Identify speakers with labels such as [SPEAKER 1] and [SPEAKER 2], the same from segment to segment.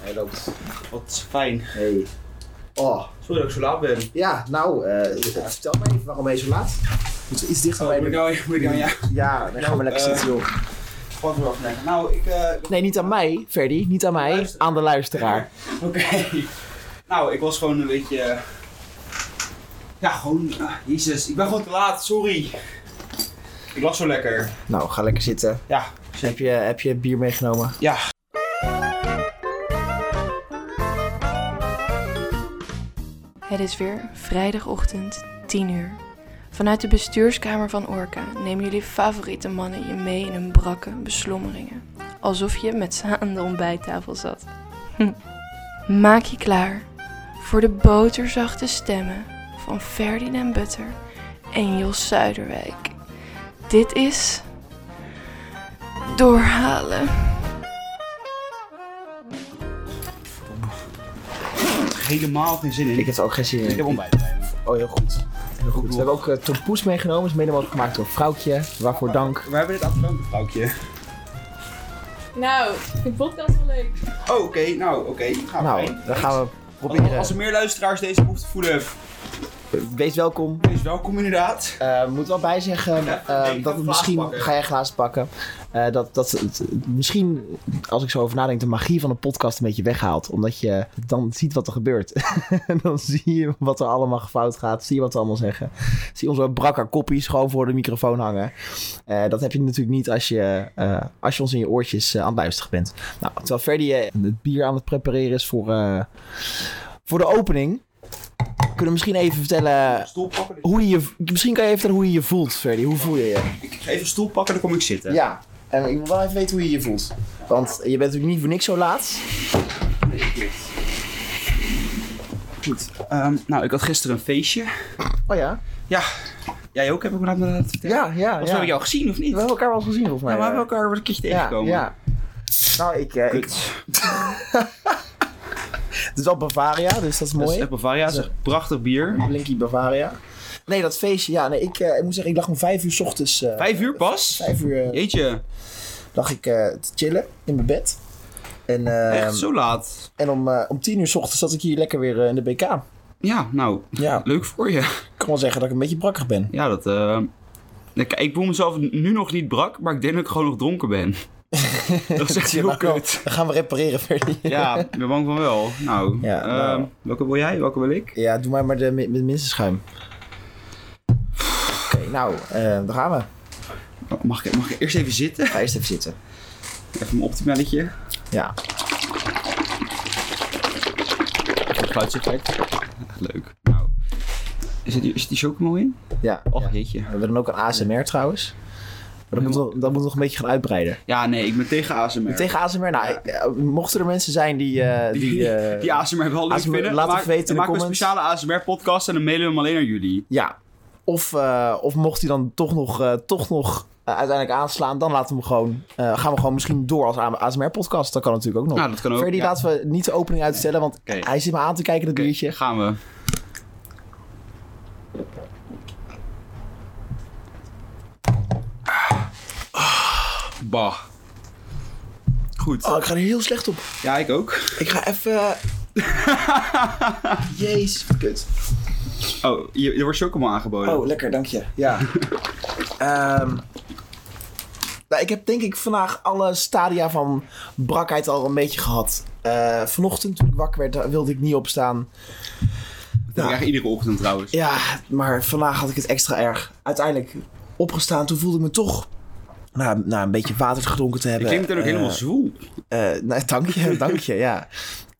[SPEAKER 1] Hij loopt.
[SPEAKER 2] Wat fijn.
[SPEAKER 1] Hey. Oh,
[SPEAKER 2] Sorry dat ik zo laat ben.
[SPEAKER 1] ja, nou, eh, vertel mij even waarom hij zo laat. Moeten we iets dichter bij
[SPEAKER 2] moet ik
[SPEAKER 1] de...
[SPEAKER 2] nou, moet ik nou, ja.
[SPEAKER 1] Ja, dan gaan we lekker
[SPEAKER 2] eh,
[SPEAKER 1] zitten, joh.
[SPEAKER 2] Gewoon weer afleggen. Nou, ik, eh, ik-
[SPEAKER 1] Nee, niet aan mij, Ferdy. Niet aan mij.
[SPEAKER 2] Luister.
[SPEAKER 1] Aan de luisteraar.
[SPEAKER 2] oké. Nou, ik was gewoon een beetje, eh, ja, gewoon, ah, jezus, ik ben gewoon te laat, sorry. Ik lag zo lekker.
[SPEAKER 1] Nou, ga lekker zitten.
[SPEAKER 2] Ja,
[SPEAKER 1] Dus heb, je, heb je bier meegenomen?
[SPEAKER 2] ja.
[SPEAKER 3] Het is weer vrijdagochtend, 10 uur. Vanuit de bestuurskamer van Orca nemen jullie favoriete mannen je mee in hun brakke beslommeringen. Alsof je met ze aan de ontbijttafel zat. Hm. Maak je klaar voor de boterzachte stemmen van Ferdinand Butter en Jos Zuiderwijk. Dit is... Doorhalen.
[SPEAKER 4] Oh,
[SPEAKER 2] Helemaal geen zin in.
[SPEAKER 1] Ik heb er ook geen zin
[SPEAKER 2] Ik heb
[SPEAKER 1] in.
[SPEAKER 2] ontbijt bij me.
[SPEAKER 1] Oh, heel goed. Heel goed.
[SPEAKER 2] nog.
[SPEAKER 1] We hebben ook eh Tom Poes meegenomen. Is mede mogelijk gemaakt door Vrouwtje. Waarvoor dank.
[SPEAKER 2] We hebben dit afgelopen vrouwtje.
[SPEAKER 4] Nou, ik vind podcast wel leuk.
[SPEAKER 2] Oh, oké, nou, oké. Gaan we
[SPEAKER 1] Nou,
[SPEAKER 2] heen.
[SPEAKER 1] dan gaan we
[SPEAKER 2] Als, als
[SPEAKER 1] proberen.
[SPEAKER 2] er meer luisteraars deze behoefte voelen,
[SPEAKER 1] Wees welkom.
[SPEAKER 2] wees welkom inderdaad.
[SPEAKER 1] Eh moet wel bijzeggen
[SPEAKER 2] Ja,
[SPEAKER 1] eh,
[SPEAKER 2] ik ga
[SPEAKER 1] dat het
[SPEAKER 2] een
[SPEAKER 1] misschien.
[SPEAKER 2] glaas pakken.
[SPEAKER 1] Ga jij een glaas pakken? Eh, dat, dat het, misschien, als ik zo over nadenk, de magie van de podcast een beetje weghaalt. Omdat je dan ziet wat er gebeurt. en dan zie je wat er allemaal fout gaat. Zie je wat ze allemaal zeggen. Zie onze brakke koppies gewoon voor de microfoon hangen. Eh, dat heb je natuurlijk niet als je, eh, als je ons in je oortjes eh, aan het luisteren bent. Nou, terwijl Ferdi eh, het bier aan het prepareren is voor, eh, voor de opening. Kunnen we misschien even vertellen
[SPEAKER 2] Stoel pakken. dus-
[SPEAKER 1] hoe je, misschien kan je even vertellen hoe je je voelt, Ferdy. Hoe voel je je?
[SPEAKER 2] Ik ga even een stoel pakken, dan kom ik zitten.
[SPEAKER 1] Ja, en ik wil wel even weten hoe je je voelt. Want je bent natuurlijk niet voor niks zo laat.
[SPEAKER 2] Goed. Ehm, nou, ik had gisteren een feestje.
[SPEAKER 1] Oh ja?
[SPEAKER 2] Jij ook, heb ik me laten vertellen.
[SPEAKER 1] Ja, ja,
[SPEAKER 2] Of
[SPEAKER 1] ja.
[SPEAKER 2] heb ik jou gezien of niet?
[SPEAKER 1] We hebben elkaar wel eens gezien, volgens mij.
[SPEAKER 2] Ja, maar we hebben elkaar wel een keertje
[SPEAKER 1] ja,
[SPEAKER 2] tegengekomen.
[SPEAKER 1] ja. Nou, ik, eh, ik,
[SPEAKER 2] Kut.
[SPEAKER 1] het is al Bavaria, dus dat is
[SPEAKER 2] Dat is
[SPEAKER 1] mooi.
[SPEAKER 2] echt Bavaria, dat is echt prachtig bier.
[SPEAKER 1] Blinky Bavaria. Nee, dat feestje, ja. Nee, ik, eh, ik moet zeggen, ik lag om vijf uur 's ochtends... eh,
[SPEAKER 2] Vijf uur pas?
[SPEAKER 1] Vijf uur eh,
[SPEAKER 2] Jeetje,
[SPEAKER 1] lag ik eh, te chillen in mijn bed. En, eh,
[SPEAKER 2] echt zo laat.
[SPEAKER 1] en om, eh, om tien uur 's ochtends zat ik hier lekker weer eh, in de BK.
[SPEAKER 2] Ja, nou,
[SPEAKER 1] Ja,
[SPEAKER 2] leuk voor je.
[SPEAKER 1] ik kan wel zeggen dat ik een beetje brakkig ben.
[SPEAKER 2] Ja, dat... eh, ik, ik voel mezelf nu nog niet brak, maar ik denk dat ik gewoon nog dronken ben. dat is echt heel
[SPEAKER 1] Maar wel,
[SPEAKER 2] kut.
[SPEAKER 1] Dat gaan we repareren, Ferdy.
[SPEAKER 2] Ja, ik ben bang van wel. Nou,
[SPEAKER 1] Ja,
[SPEAKER 2] ehm,
[SPEAKER 1] nou.
[SPEAKER 2] welke wil jij, welke wil ik?
[SPEAKER 1] Ja, doe mij maar de, met minste schuim. Oké, nou, eh, daar gaan we.
[SPEAKER 2] Oh, Mag ik, mag ik eerst even zitten?
[SPEAKER 1] Ga eerst even zitten.
[SPEAKER 2] Even mijn optimelletje.
[SPEAKER 1] Ja.
[SPEAKER 2] Geluidseffect. Echt leuk. Nou, zit die, zit die chocomel in?
[SPEAKER 1] ja.
[SPEAKER 2] Och,
[SPEAKER 1] ja.
[SPEAKER 2] jeetje.
[SPEAKER 1] We hebben dan ook een ASMR trouwens. Maar dat moet, wel- dat moet nog een beetje gaan uitbreiden.
[SPEAKER 2] Ja, nee, ik ben tegen ASMR.
[SPEAKER 1] Tegen ASMR, nou, ik- eh, mochten er mensen zijn die... eh, die,
[SPEAKER 2] die,
[SPEAKER 1] eh,
[SPEAKER 2] die ASMR wel leuk
[SPEAKER 1] ASMR
[SPEAKER 2] vinden.
[SPEAKER 1] laat
[SPEAKER 2] dan
[SPEAKER 1] het weten in de
[SPEAKER 2] dan maken we
[SPEAKER 1] comments.
[SPEAKER 2] een speciale ASMR-podcast en dan mailen we hem alleen naar jullie.
[SPEAKER 1] ja. Of, eh, of mocht hij dan toch nog, eh, toch nog eh, uiteindelijk aanslaan, dan laten we hem gewoon, eh, gaan we gewoon misschien door als ASMR-podcast. Dat kan natuurlijk ook nog.
[SPEAKER 2] Nou, dat kan ook.
[SPEAKER 1] Verdi,
[SPEAKER 2] ja.
[SPEAKER 1] laten we niet de opening uitstellen, want
[SPEAKER 2] Oké.
[SPEAKER 1] hij zit me aan te kijken, dat
[SPEAKER 2] Oké,
[SPEAKER 1] biertje.
[SPEAKER 2] gaan we. Bah. Goed.
[SPEAKER 1] Oh, ik ga er heel slecht op.
[SPEAKER 2] Ja, ik ook.
[SPEAKER 1] Ik ga even. Jezus, kut.
[SPEAKER 2] Oh, je, je wordt chocomel aangeboden.
[SPEAKER 1] Oh, lekker, dank je. Ja. Ehm, nou, ik heb denk ik vandaag alle stadia van brakheid al een beetje gehad. Eh, vanochtend toen ik wakker werd, daar wilde ik niet opstaan.
[SPEAKER 2] dat heb ik
[SPEAKER 1] nou.
[SPEAKER 2] eigenlijk iedere ochtend trouwens.
[SPEAKER 1] Ja, maar vandaag had ik het extra erg. Uiteindelijk opgestaan, toen voelde ik me toch... Na, na een beetje water gedronken te
[SPEAKER 2] Je
[SPEAKER 1] hebben.
[SPEAKER 2] klinkt dan ook
[SPEAKER 1] eh,
[SPEAKER 2] helemaal zwoel.
[SPEAKER 1] Eh, nou, dank je, dank je, ja.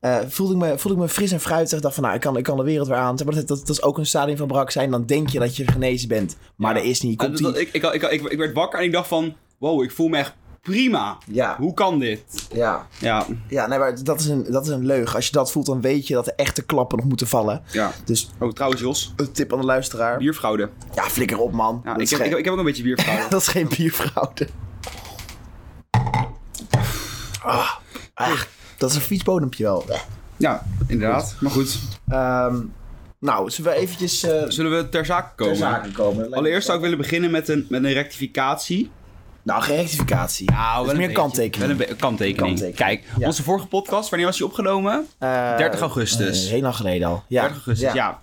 [SPEAKER 1] Eh, voelde, ik me, voelde ik me fris en fruitig. Ik dacht van, nou, ik kan, ik kan de wereld weer aan. Maar dat, dat, dat is ook een stadium van brak zijn. Dan denk je dat je genezen bent. Maar
[SPEAKER 2] Ja.
[SPEAKER 1] dat is niet.
[SPEAKER 2] Ja,
[SPEAKER 1] Komt
[SPEAKER 2] dat-
[SPEAKER 1] die...
[SPEAKER 2] dat- ik, ik, ik, ik, ik werd wakker en ik dacht van... Wow, ik voel me echt prima.
[SPEAKER 1] Ja,
[SPEAKER 2] Hoe kan dit?
[SPEAKER 1] ja.
[SPEAKER 2] Ja,
[SPEAKER 1] Ja, nee, maar dat is, een, dat is een leugen. Als je dat voelt, dan weet je dat de echte klappen nog moeten vallen.
[SPEAKER 2] ja.
[SPEAKER 1] Dus
[SPEAKER 2] Oh, trouwens Jos,
[SPEAKER 1] een tip aan de luisteraar.
[SPEAKER 2] bierfraude.
[SPEAKER 1] Ja, flikker op, man.
[SPEAKER 2] Ja,
[SPEAKER 1] dat,
[SPEAKER 2] ik,
[SPEAKER 1] is
[SPEAKER 2] heb, ik,
[SPEAKER 1] geen,
[SPEAKER 2] heb, ik heb ook een beetje bierfraude.
[SPEAKER 1] dat is geen bierfraude. Ah, ah, dat is een fietsbodempje wel.
[SPEAKER 2] ja, inderdaad. Maar goed,
[SPEAKER 1] Ehm, nou, zullen we eventjes eh
[SPEAKER 2] zullen we ter zake komen?
[SPEAKER 1] ter zake komen?
[SPEAKER 2] Allereerst zou ik willen beginnen met een, met een rectificatie.
[SPEAKER 1] Nou, geen rectificatie.
[SPEAKER 2] Nou,
[SPEAKER 1] is meer kanttekening.
[SPEAKER 2] Wel een be- kanttekening.
[SPEAKER 1] Kanttekening.
[SPEAKER 2] Kijk,
[SPEAKER 1] Ja.
[SPEAKER 2] onze vorige podcast, wanneer was die opgenomen?
[SPEAKER 1] Eh,
[SPEAKER 2] 30 augustus.
[SPEAKER 1] eh, heel lang geleden al. Ja.
[SPEAKER 2] 30 augustus, ja.
[SPEAKER 1] Ja.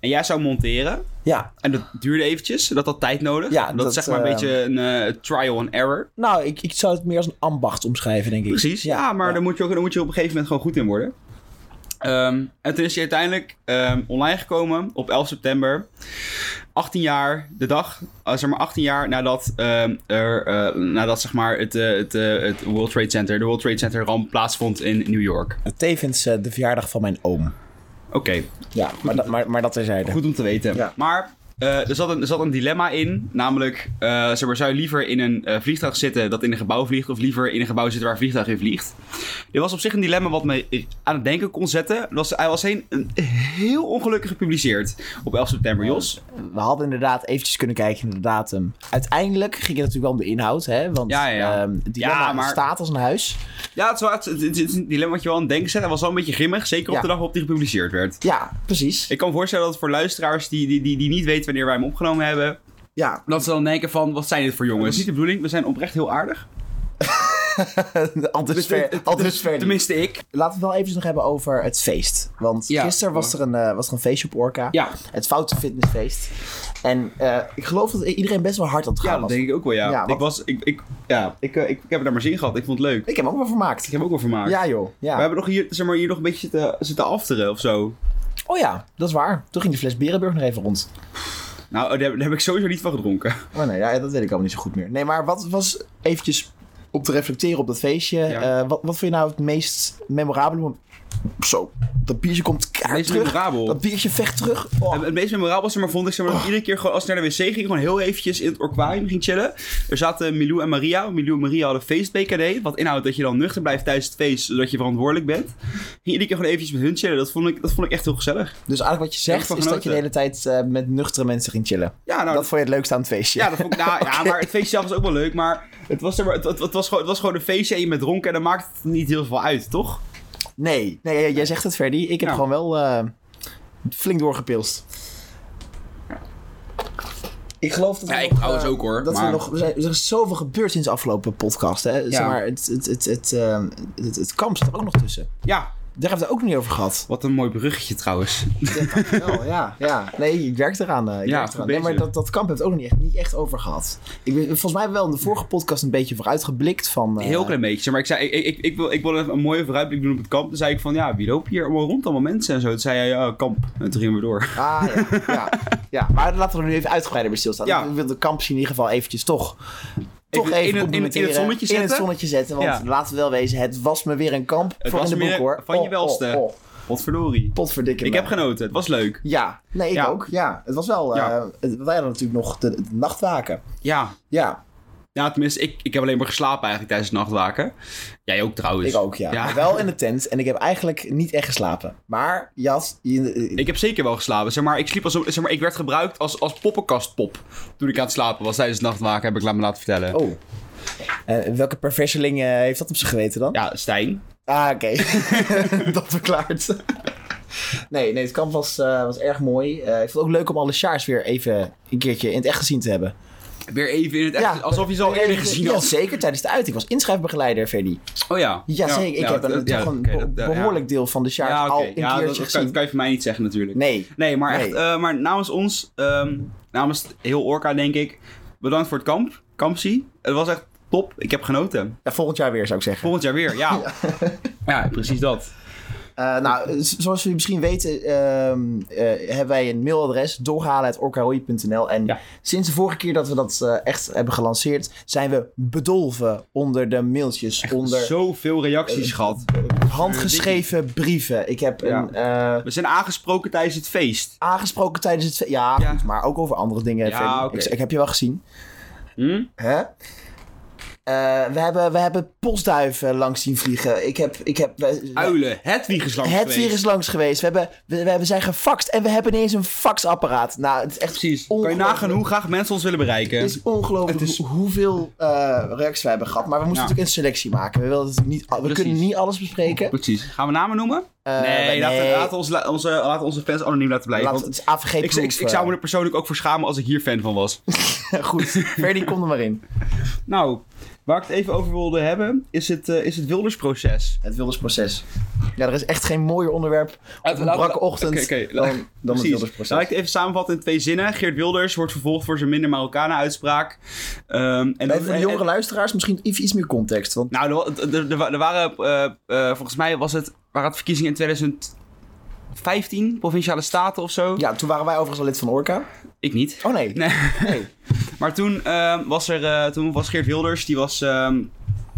[SPEAKER 2] En jij zou monteren.
[SPEAKER 1] Ja.
[SPEAKER 2] En dat duurde eventjes. Dat had tijd nodig.
[SPEAKER 1] Ja,
[SPEAKER 2] dat,
[SPEAKER 1] dat,
[SPEAKER 2] is zeg maar een
[SPEAKER 1] eh,
[SPEAKER 2] beetje een eh, trial and error.
[SPEAKER 1] Nou, ik, ik zou het meer als een ambacht omschrijven, denk ik.
[SPEAKER 2] Precies. Ja, maar Daar, moet je ook, daar moet je op een gegeven moment gewoon goed in worden. Ehm, en toen is hij uiteindelijk ehm, online gekomen op 11 september. 18 jaar, de dag, eh, zeg maar 18 jaar nadat, ehm, er, eh, nadat zeg maar het, eh, het, eh, het World Trade Center, de World Trade Center ramp plaatsvond in New York.
[SPEAKER 1] Tevens eh, de verjaardag van mijn oom.
[SPEAKER 2] Oké,
[SPEAKER 1] Ja, maar, dat- maar, maar dat terzijde.
[SPEAKER 2] Goed om te weten.
[SPEAKER 1] Ja.
[SPEAKER 2] Maar eh, er, zat een, er zat een dilemma in. Namelijk, eh, zeg maar, zou je liever in een eh, vliegtuig zitten dat in een gebouw vliegt... of liever in een gebouw zitten waar een vliegtuig in vliegt? Dit was op zich een dilemma wat me aan het denken kon zetten. Het Was, hij was heen, een, heel ongelukkig gepubliceerd op 11 september, Jos.
[SPEAKER 1] We hadden inderdaad eventjes kunnen kijken naar de datum. Uiteindelijk ging het natuurlijk wel om de inhoud, hè? Want
[SPEAKER 2] Ja,
[SPEAKER 1] ja,
[SPEAKER 2] ja, ja.
[SPEAKER 1] het
[SPEAKER 2] Ja,
[SPEAKER 1] dilemma
[SPEAKER 2] maar-
[SPEAKER 1] staat als een huis.
[SPEAKER 2] Ja, het is, wel, het, het- het is een dilemma wat je wel aan het denken zet. Hij was wel een beetje grimmig, zeker op
[SPEAKER 1] Ja.
[SPEAKER 2] de dag waarop die gepubliceerd werd.
[SPEAKER 1] Ja, precies.
[SPEAKER 2] Ik kan me voorstellen dat voor luisteraars die, die, die, die niet weten wanneer wij hem opgenomen hebben...
[SPEAKER 1] Ja,
[SPEAKER 2] dat ze dan denken van, wat zijn dit voor jongens? Dat is niet de bedoeling, we zijn oprecht heel aardig.
[SPEAKER 1] al dus ver. Al dus ver. niet.
[SPEAKER 2] Tenminste ik.
[SPEAKER 1] Laten we het wel even nog hebben over het feest. Want
[SPEAKER 2] Ja.
[SPEAKER 1] gisteren was er, een, eh, was er een feestje op Orca.
[SPEAKER 2] Ja,
[SPEAKER 1] Het Foute Fitnessfeest. En eh, ik geloof dat iedereen best wel hard aan het gaan
[SPEAKER 2] Ja, dat
[SPEAKER 1] was.
[SPEAKER 2] denk ik ook wel, ja.
[SPEAKER 1] Ja,
[SPEAKER 2] ik,
[SPEAKER 1] want-
[SPEAKER 2] was, ik, ik, ja ik, eh, ik, ik heb er daar maar zin in gehad. Ik vond het leuk. Ik
[SPEAKER 1] Ik heb hem ook wel vermaakt.
[SPEAKER 2] heb hem ook wel vermaakt.
[SPEAKER 1] Ja, joh. Ja.
[SPEAKER 2] We hebben nog hier, zeg maar, hier nog een beetje zitten, zitten afteren of zo.
[SPEAKER 1] Oh ja, dat is waar. Toen ging de fles Berenburg nog even rond.
[SPEAKER 2] Nou, daar, daar heb ik sowieso niet van gedronken.
[SPEAKER 1] Oh nee, ja, dat weet ik allemaal niet zo goed meer. Nee, maar wat was eventjes om te reflecteren op dat feestje.
[SPEAKER 2] Ja.
[SPEAKER 1] eh, wat, wat vind je nou het meest memorabele moment? Zo, dat biertje komt
[SPEAKER 2] Het
[SPEAKER 1] kaart
[SPEAKER 2] meest
[SPEAKER 1] terug.
[SPEAKER 2] memorabel.
[SPEAKER 1] Dat biertje vecht terug. Oh.
[SPEAKER 2] Het- Het meest memorabel was, zeg maar, vond ik zeg maar, dat ik iedere keer gewoon, als ik naar de wc ging, gewoon heel eventjes in het orkwarium ging chillen. Er zaten Milou en Maria. Milou en Maria hadden feest-BKD. Wat inhoudt dat je dan nuchter blijft tijdens het feest, zodat je verantwoordelijk bent. Ging iedere keer gewoon eventjes met hun chillen. Dat vond ik, dat vond ik echt heel gezellig.
[SPEAKER 1] Dus eigenlijk wat je
[SPEAKER 2] Echt
[SPEAKER 1] zegt
[SPEAKER 2] van
[SPEAKER 1] is dat je de hele
[SPEAKER 2] genoten.
[SPEAKER 1] tijd eh, met nuchtere mensen ging chillen.
[SPEAKER 2] Ja, nou,
[SPEAKER 1] dat vond je het leukste aan het feestje.
[SPEAKER 2] Ja, dat vond ik, nou, ja, maar het feestje zelf was ook wel leuk, maar het was, er, maar- het, het, het was, gewoon, het was gewoon een feestje en je bent dronken en dan maakt het niet heel veel uit, toch?
[SPEAKER 1] Nee, nee, jij- jij zegt het Ferdy. Ik heb
[SPEAKER 2] Ja.
[SPEAKER 1] gewoon wel eh, flink doorgepilst. Ik geloof dat we
[SPEAKER 2] Ja, ik
[SPEAKER 1] nog,
[SPEAKER 2] trouwens
[SPEAKER 1] eh,
[SPEAKER 2] ook, hoor,
[SPEAKER 1] Dat
[SPEAKER 2] maar-
[SPEAKER 1] we nog, we zijn- er is zoveel gebeurd sinds de afgelopen podcast. Hè? Zeg maar, het, het, het, het, ehm, het, het kamp zit er ook nog tussen.
[SPEAKER 2] Ja,
[SPEAKER 1] Daar hebben we het ook niet over gehad.
[SPEAKER 2] wat een mooi bruggetje trouwens.
[SPEAKER 1] Nou Wel, ja, ja. Nee, ik werk eraan. eh, Ik
[SPEAKER 2] Ja,
[SPEAKER 1] werk
[SPEAKER 2] goed
[SPEAKER 1] eraan. Nee, maar
[SPEAKER 2] bezig.
[SPEAKER 1] dat, dat kamp hebben we het ook niet echt, niet echt over gehad. Ik ben, volgens mij hebben we wel in de vorige podcast een beetje vooruit geblikt van... eh,
[SPEAKER 2] Heel klein beetje, maar ik zei, ik, ik, ik, wil, ik wil even een mooie vooruitblik doen op het kamp. Toen zei ik van, ja, wie loopt hier allemaal rond, allemaal mensen en zo. Toen zei hij, ja, kamp. En toen gingen we door.
[SPEAKER 1] Ah, ja, ja, ja. Maar laten we er nu even uitgebreider bij stilstaan.
[SPEAKER 2] Ja.
[SPEAKER 1] Ik wil de kampus in ieder geval eventjes toch... Toch
[SPEAKER 2] Even in het-
[SPEAKER 1] even,
[SPEAKER 2] in het- in het
[SPEAKER 1] complimenteren.
[SPEAKER 2] zonnetje
[SPEAKER 1] In
[SPEAKER 2] zetten?
[SPEAKER 1] het zonnetje zetten, want
[SPEAKER 2] Ja.
[SPEAKER 1] laten we wel wezen, het was me weer een kamp voor
[SPEAKER 2] was
[SPEAKER 1] in de
[SPEAKER 2] me
[SPEAKER 1] boek,
[SPEAKER 2] weer
[SPEAKER 1] hoor.
[SPEAKER 2] van je welste.
[SPEAKER 1] Oh, oh.
[SPEAKER 2] Potverdorie.
[SPEAKER 1] Potverdikke
[SPEAKER 2] Ik
[SPEAKER 1] me.
[SPEAKER 2] heb genoten, het was leuk.
[SPEAKER 1] Ja, nee, ik
[SPEAKER 2] Ja.
[SPEAKER 1] ook. Ja, het was wel... eh,
[SPEAKER 2] Ja.
[SPEAKER 1] het- wij hadden natuurlijk nog de, de nachtwaken.
[SPEAKER 2] Ja,
[SPEAKER 1] Ja,
[SPEAKER 2] ja tenminste, ik, ik heb alleen maar geslapen eigenlijk tijdens het nachtwaken. Jij ook trouwens.
[SPEAKER 1] ik ook, ja.
[SPEAKER 2] Dus- Ja.
[SPEAKER 1] Maar wel in de tent en ik heb eigenlijk niet echt geslapen. Maar, Jas... je-
[SPEAKER 2] Ik heb zeker wel geslapen. Zeg maar, ik, sliep als, zeg maar, ik werd gebruikt als, als poppenkastpop. Toen ik aan het slapen was tijdens het nachtwaken, heb ik laat me laten vertellen.
[SPEAKER 1] Oh. Eh, welke perverseling eh, heeft dat op zich geweten dan?
[SPEAKER 2] Ja, Stijn.
[SPEAKER 1] Ah, oké. dat verklaart. nee, nee, het kamp was, eh, was erg mooi. Eh, ik vond het ook leuk om alle Sjaars weer even een keertje in het echt gezien te hebben.
[SPEAKER 2] Weer even in het echt.
[SPEAKER 1] Ja.
[SPEAKER 2] alsof je ze al eerder gezien
[SPEAKER 1] Ja,
[SPEAKER 2] had.
[SPEAKER 1] zeker. Tijdens de uiting. Ik was inschrijfbegeleider, Ferdy.
[SPEAKER 2] Oh ja.
[SPEAKER 1] Ja, zeker. Ik
[SPEAKER 2] ja,
[SPEAKER 1] heb
[SPEAKER 2] dat-
[SPEAKER 1] een,
[SPEAKER 2] ja,
[SPEAKER 1] toch een
[SPEAKER 2] oké,
[SPEAKER 1] be-
[SPEAKER 2] dat- dat- ja.
[SPEAKER 1] behoorlijk deel van de Sjaars
[SPEAKER 2] Ja, oké.
[SPEAKER 1] al een
[SPEAKER 2] ja, dat,
[SPEAKER 1] keertje
[SPEAKER 2] dat kan,
[SPEAKER 1] gezien.
[SPEAKER 2] dat kan je van mij niet zeggen natuurlijk.
[SPEAKER 1] Nee.
[SPEAKER 2] Nee, maar echt.
[SPEAKER 1] Nee.
[SPEAKER 2] eh, maar namens ons, ehm, namens heel Orca denk ik, bedankt voor het kamp. Kampsie. Het was echt top. Ik heb genoten.
[SPEAKER 1] Ja, volgend jaar weer, zou ik zeggen.
[SPEAKER 2] Volgend jaar weer, ja. Ja, precies dat.
[SPEAKER 1] Eh, nou, eh, z- zoals jullie misschien weten, ehm, eh, hebben wij een mailadres doorhalen.orkahooi.nl. En
[SPEAKER 2] Ja.
[SPEAKER 1] sinds de vorige keer dat we dat eh, echt hebben gelanceerd, zijn we bedolven onder de mailtjes. onder Eh,
[SPEAKER 2] Zoveel reacties gehad.
[SPEAKER 1] handgeschreven brieven. Ik heb
[SPEAKER 2] Eh, Ja.
[SPEAKER 1] een, eh,
[SPEAKER 2] We zijn aangesproken tijdens het feest.
[SPEAKER 1] aangesproken tijdens het... fe- Ja,
[SPEAKER 2] Ja.
[SPEAKER 1] Goed, maar ook over andere dingen.
[SPEAKER 2] Ja,
[SPEAKER 1] Ferdy. ik,
[SPEAKER 2] oké.
[SPEAKER 1] ik heb je wel gezien.
[SPEAKER 2] Hm?
[SPEAKER 1] Hè? Eh, we, hebben, we hebben postduiven langs zien vliegen. Ik heb... Ik heb we- we-
[SPEAKER 2] Uilen, Hedwig is langs
[SPEAKER 1] het
[SPEAKER 2] geweest.
[SPEAKER 1] virus is langs geweest. We, hebben, we, we hebben zijn gefaxt en we hebben ineens een faxapparaat. Nou, het is echt
[SPEAKER 2] Precies. Kan je
[SPEAKER 1] ongelooflijk.
[SPEAKER 2] nagaan hoe graag mensen ons willen bereiken?
[SPEAKER 1] Het is ongelooflijk
[SPEAKER 2] Het is-
[SPEAKER 1] hoe- hoeveel eh, reacties we hebben gehad. Maar we moesten
[SPEAKER 2] Ja.
[SPEAKER 1] natuurlijk een selectie maken. We, wilden natuurlijk niet, we
[SPEAKER 2] Precies.
[SPEAKER 1] kunnen niet alles bespreken.
[SPEAKER 2] Precies. Gaan we namen noemen?
[SPEAKER 1] Eh,
[SPEAKER 2] nee, laten we- laten we ons, la- onze, laten we onze fans anoniem laten blijven.
[SPEAKER 1] Laat-
[SPEAKER 2] want
[SPEAKER 1] het is AVG
[SPEAKER 2] ik, ik, ik zou me er persoonlijk ook voor schamen als ik hier fan van was.
[SPEAKER 1] Goed, Ferdy, kom er maar in.
[SPEAKER 2] Nou, Waar ik het even over wilde hebben, is het, eh, is het Wildersproces.
[SPEAKER 1] Het Wildersproces. Ja, er is echt geen mooier onderwerp op een
[SPEAKER 2] laten-
[SPEAKER 1] brakke ochtend
[SPEAKER 2] Oké, oké, la-
[SPEAKER 1] dan, dan het
[SPEAKER 2] Precies. Laat ik
[SPEAKER 1] Wildersproces.
[SPEAKER 2] het even samenvatten in twee zinnen. Geert Wilders wordt vervolgd voor zijn minder Marokkanen-uitspraak. Ehm, en dat-
[SPEAKER 1] Even voor de
[SPEAKER 2] en-
[SPEAKER 1] jongere
[SPEAKER 2] en-
[SPEAKER 1] luisteraars misschien even iets meer context. Want
[SPEAKER 2] Nou, er, er- er- er waren, eh, eh, volgens mij was het, waren het verkiezingen in 2015, provinciale staten of zo.
[SPEAKER 1] ja, toen waren wij overigens al lid van Orca.
[SPEAKER 2] Ik niet.
[SPEAKER 1] Oh nee.
[SPEAKER 2] Nee.
[SPEAKER 1] Nee.
[SPEAKER 2] Maar toen, ehm, was er, eh, toen was Geert Wilders, die was... ehm,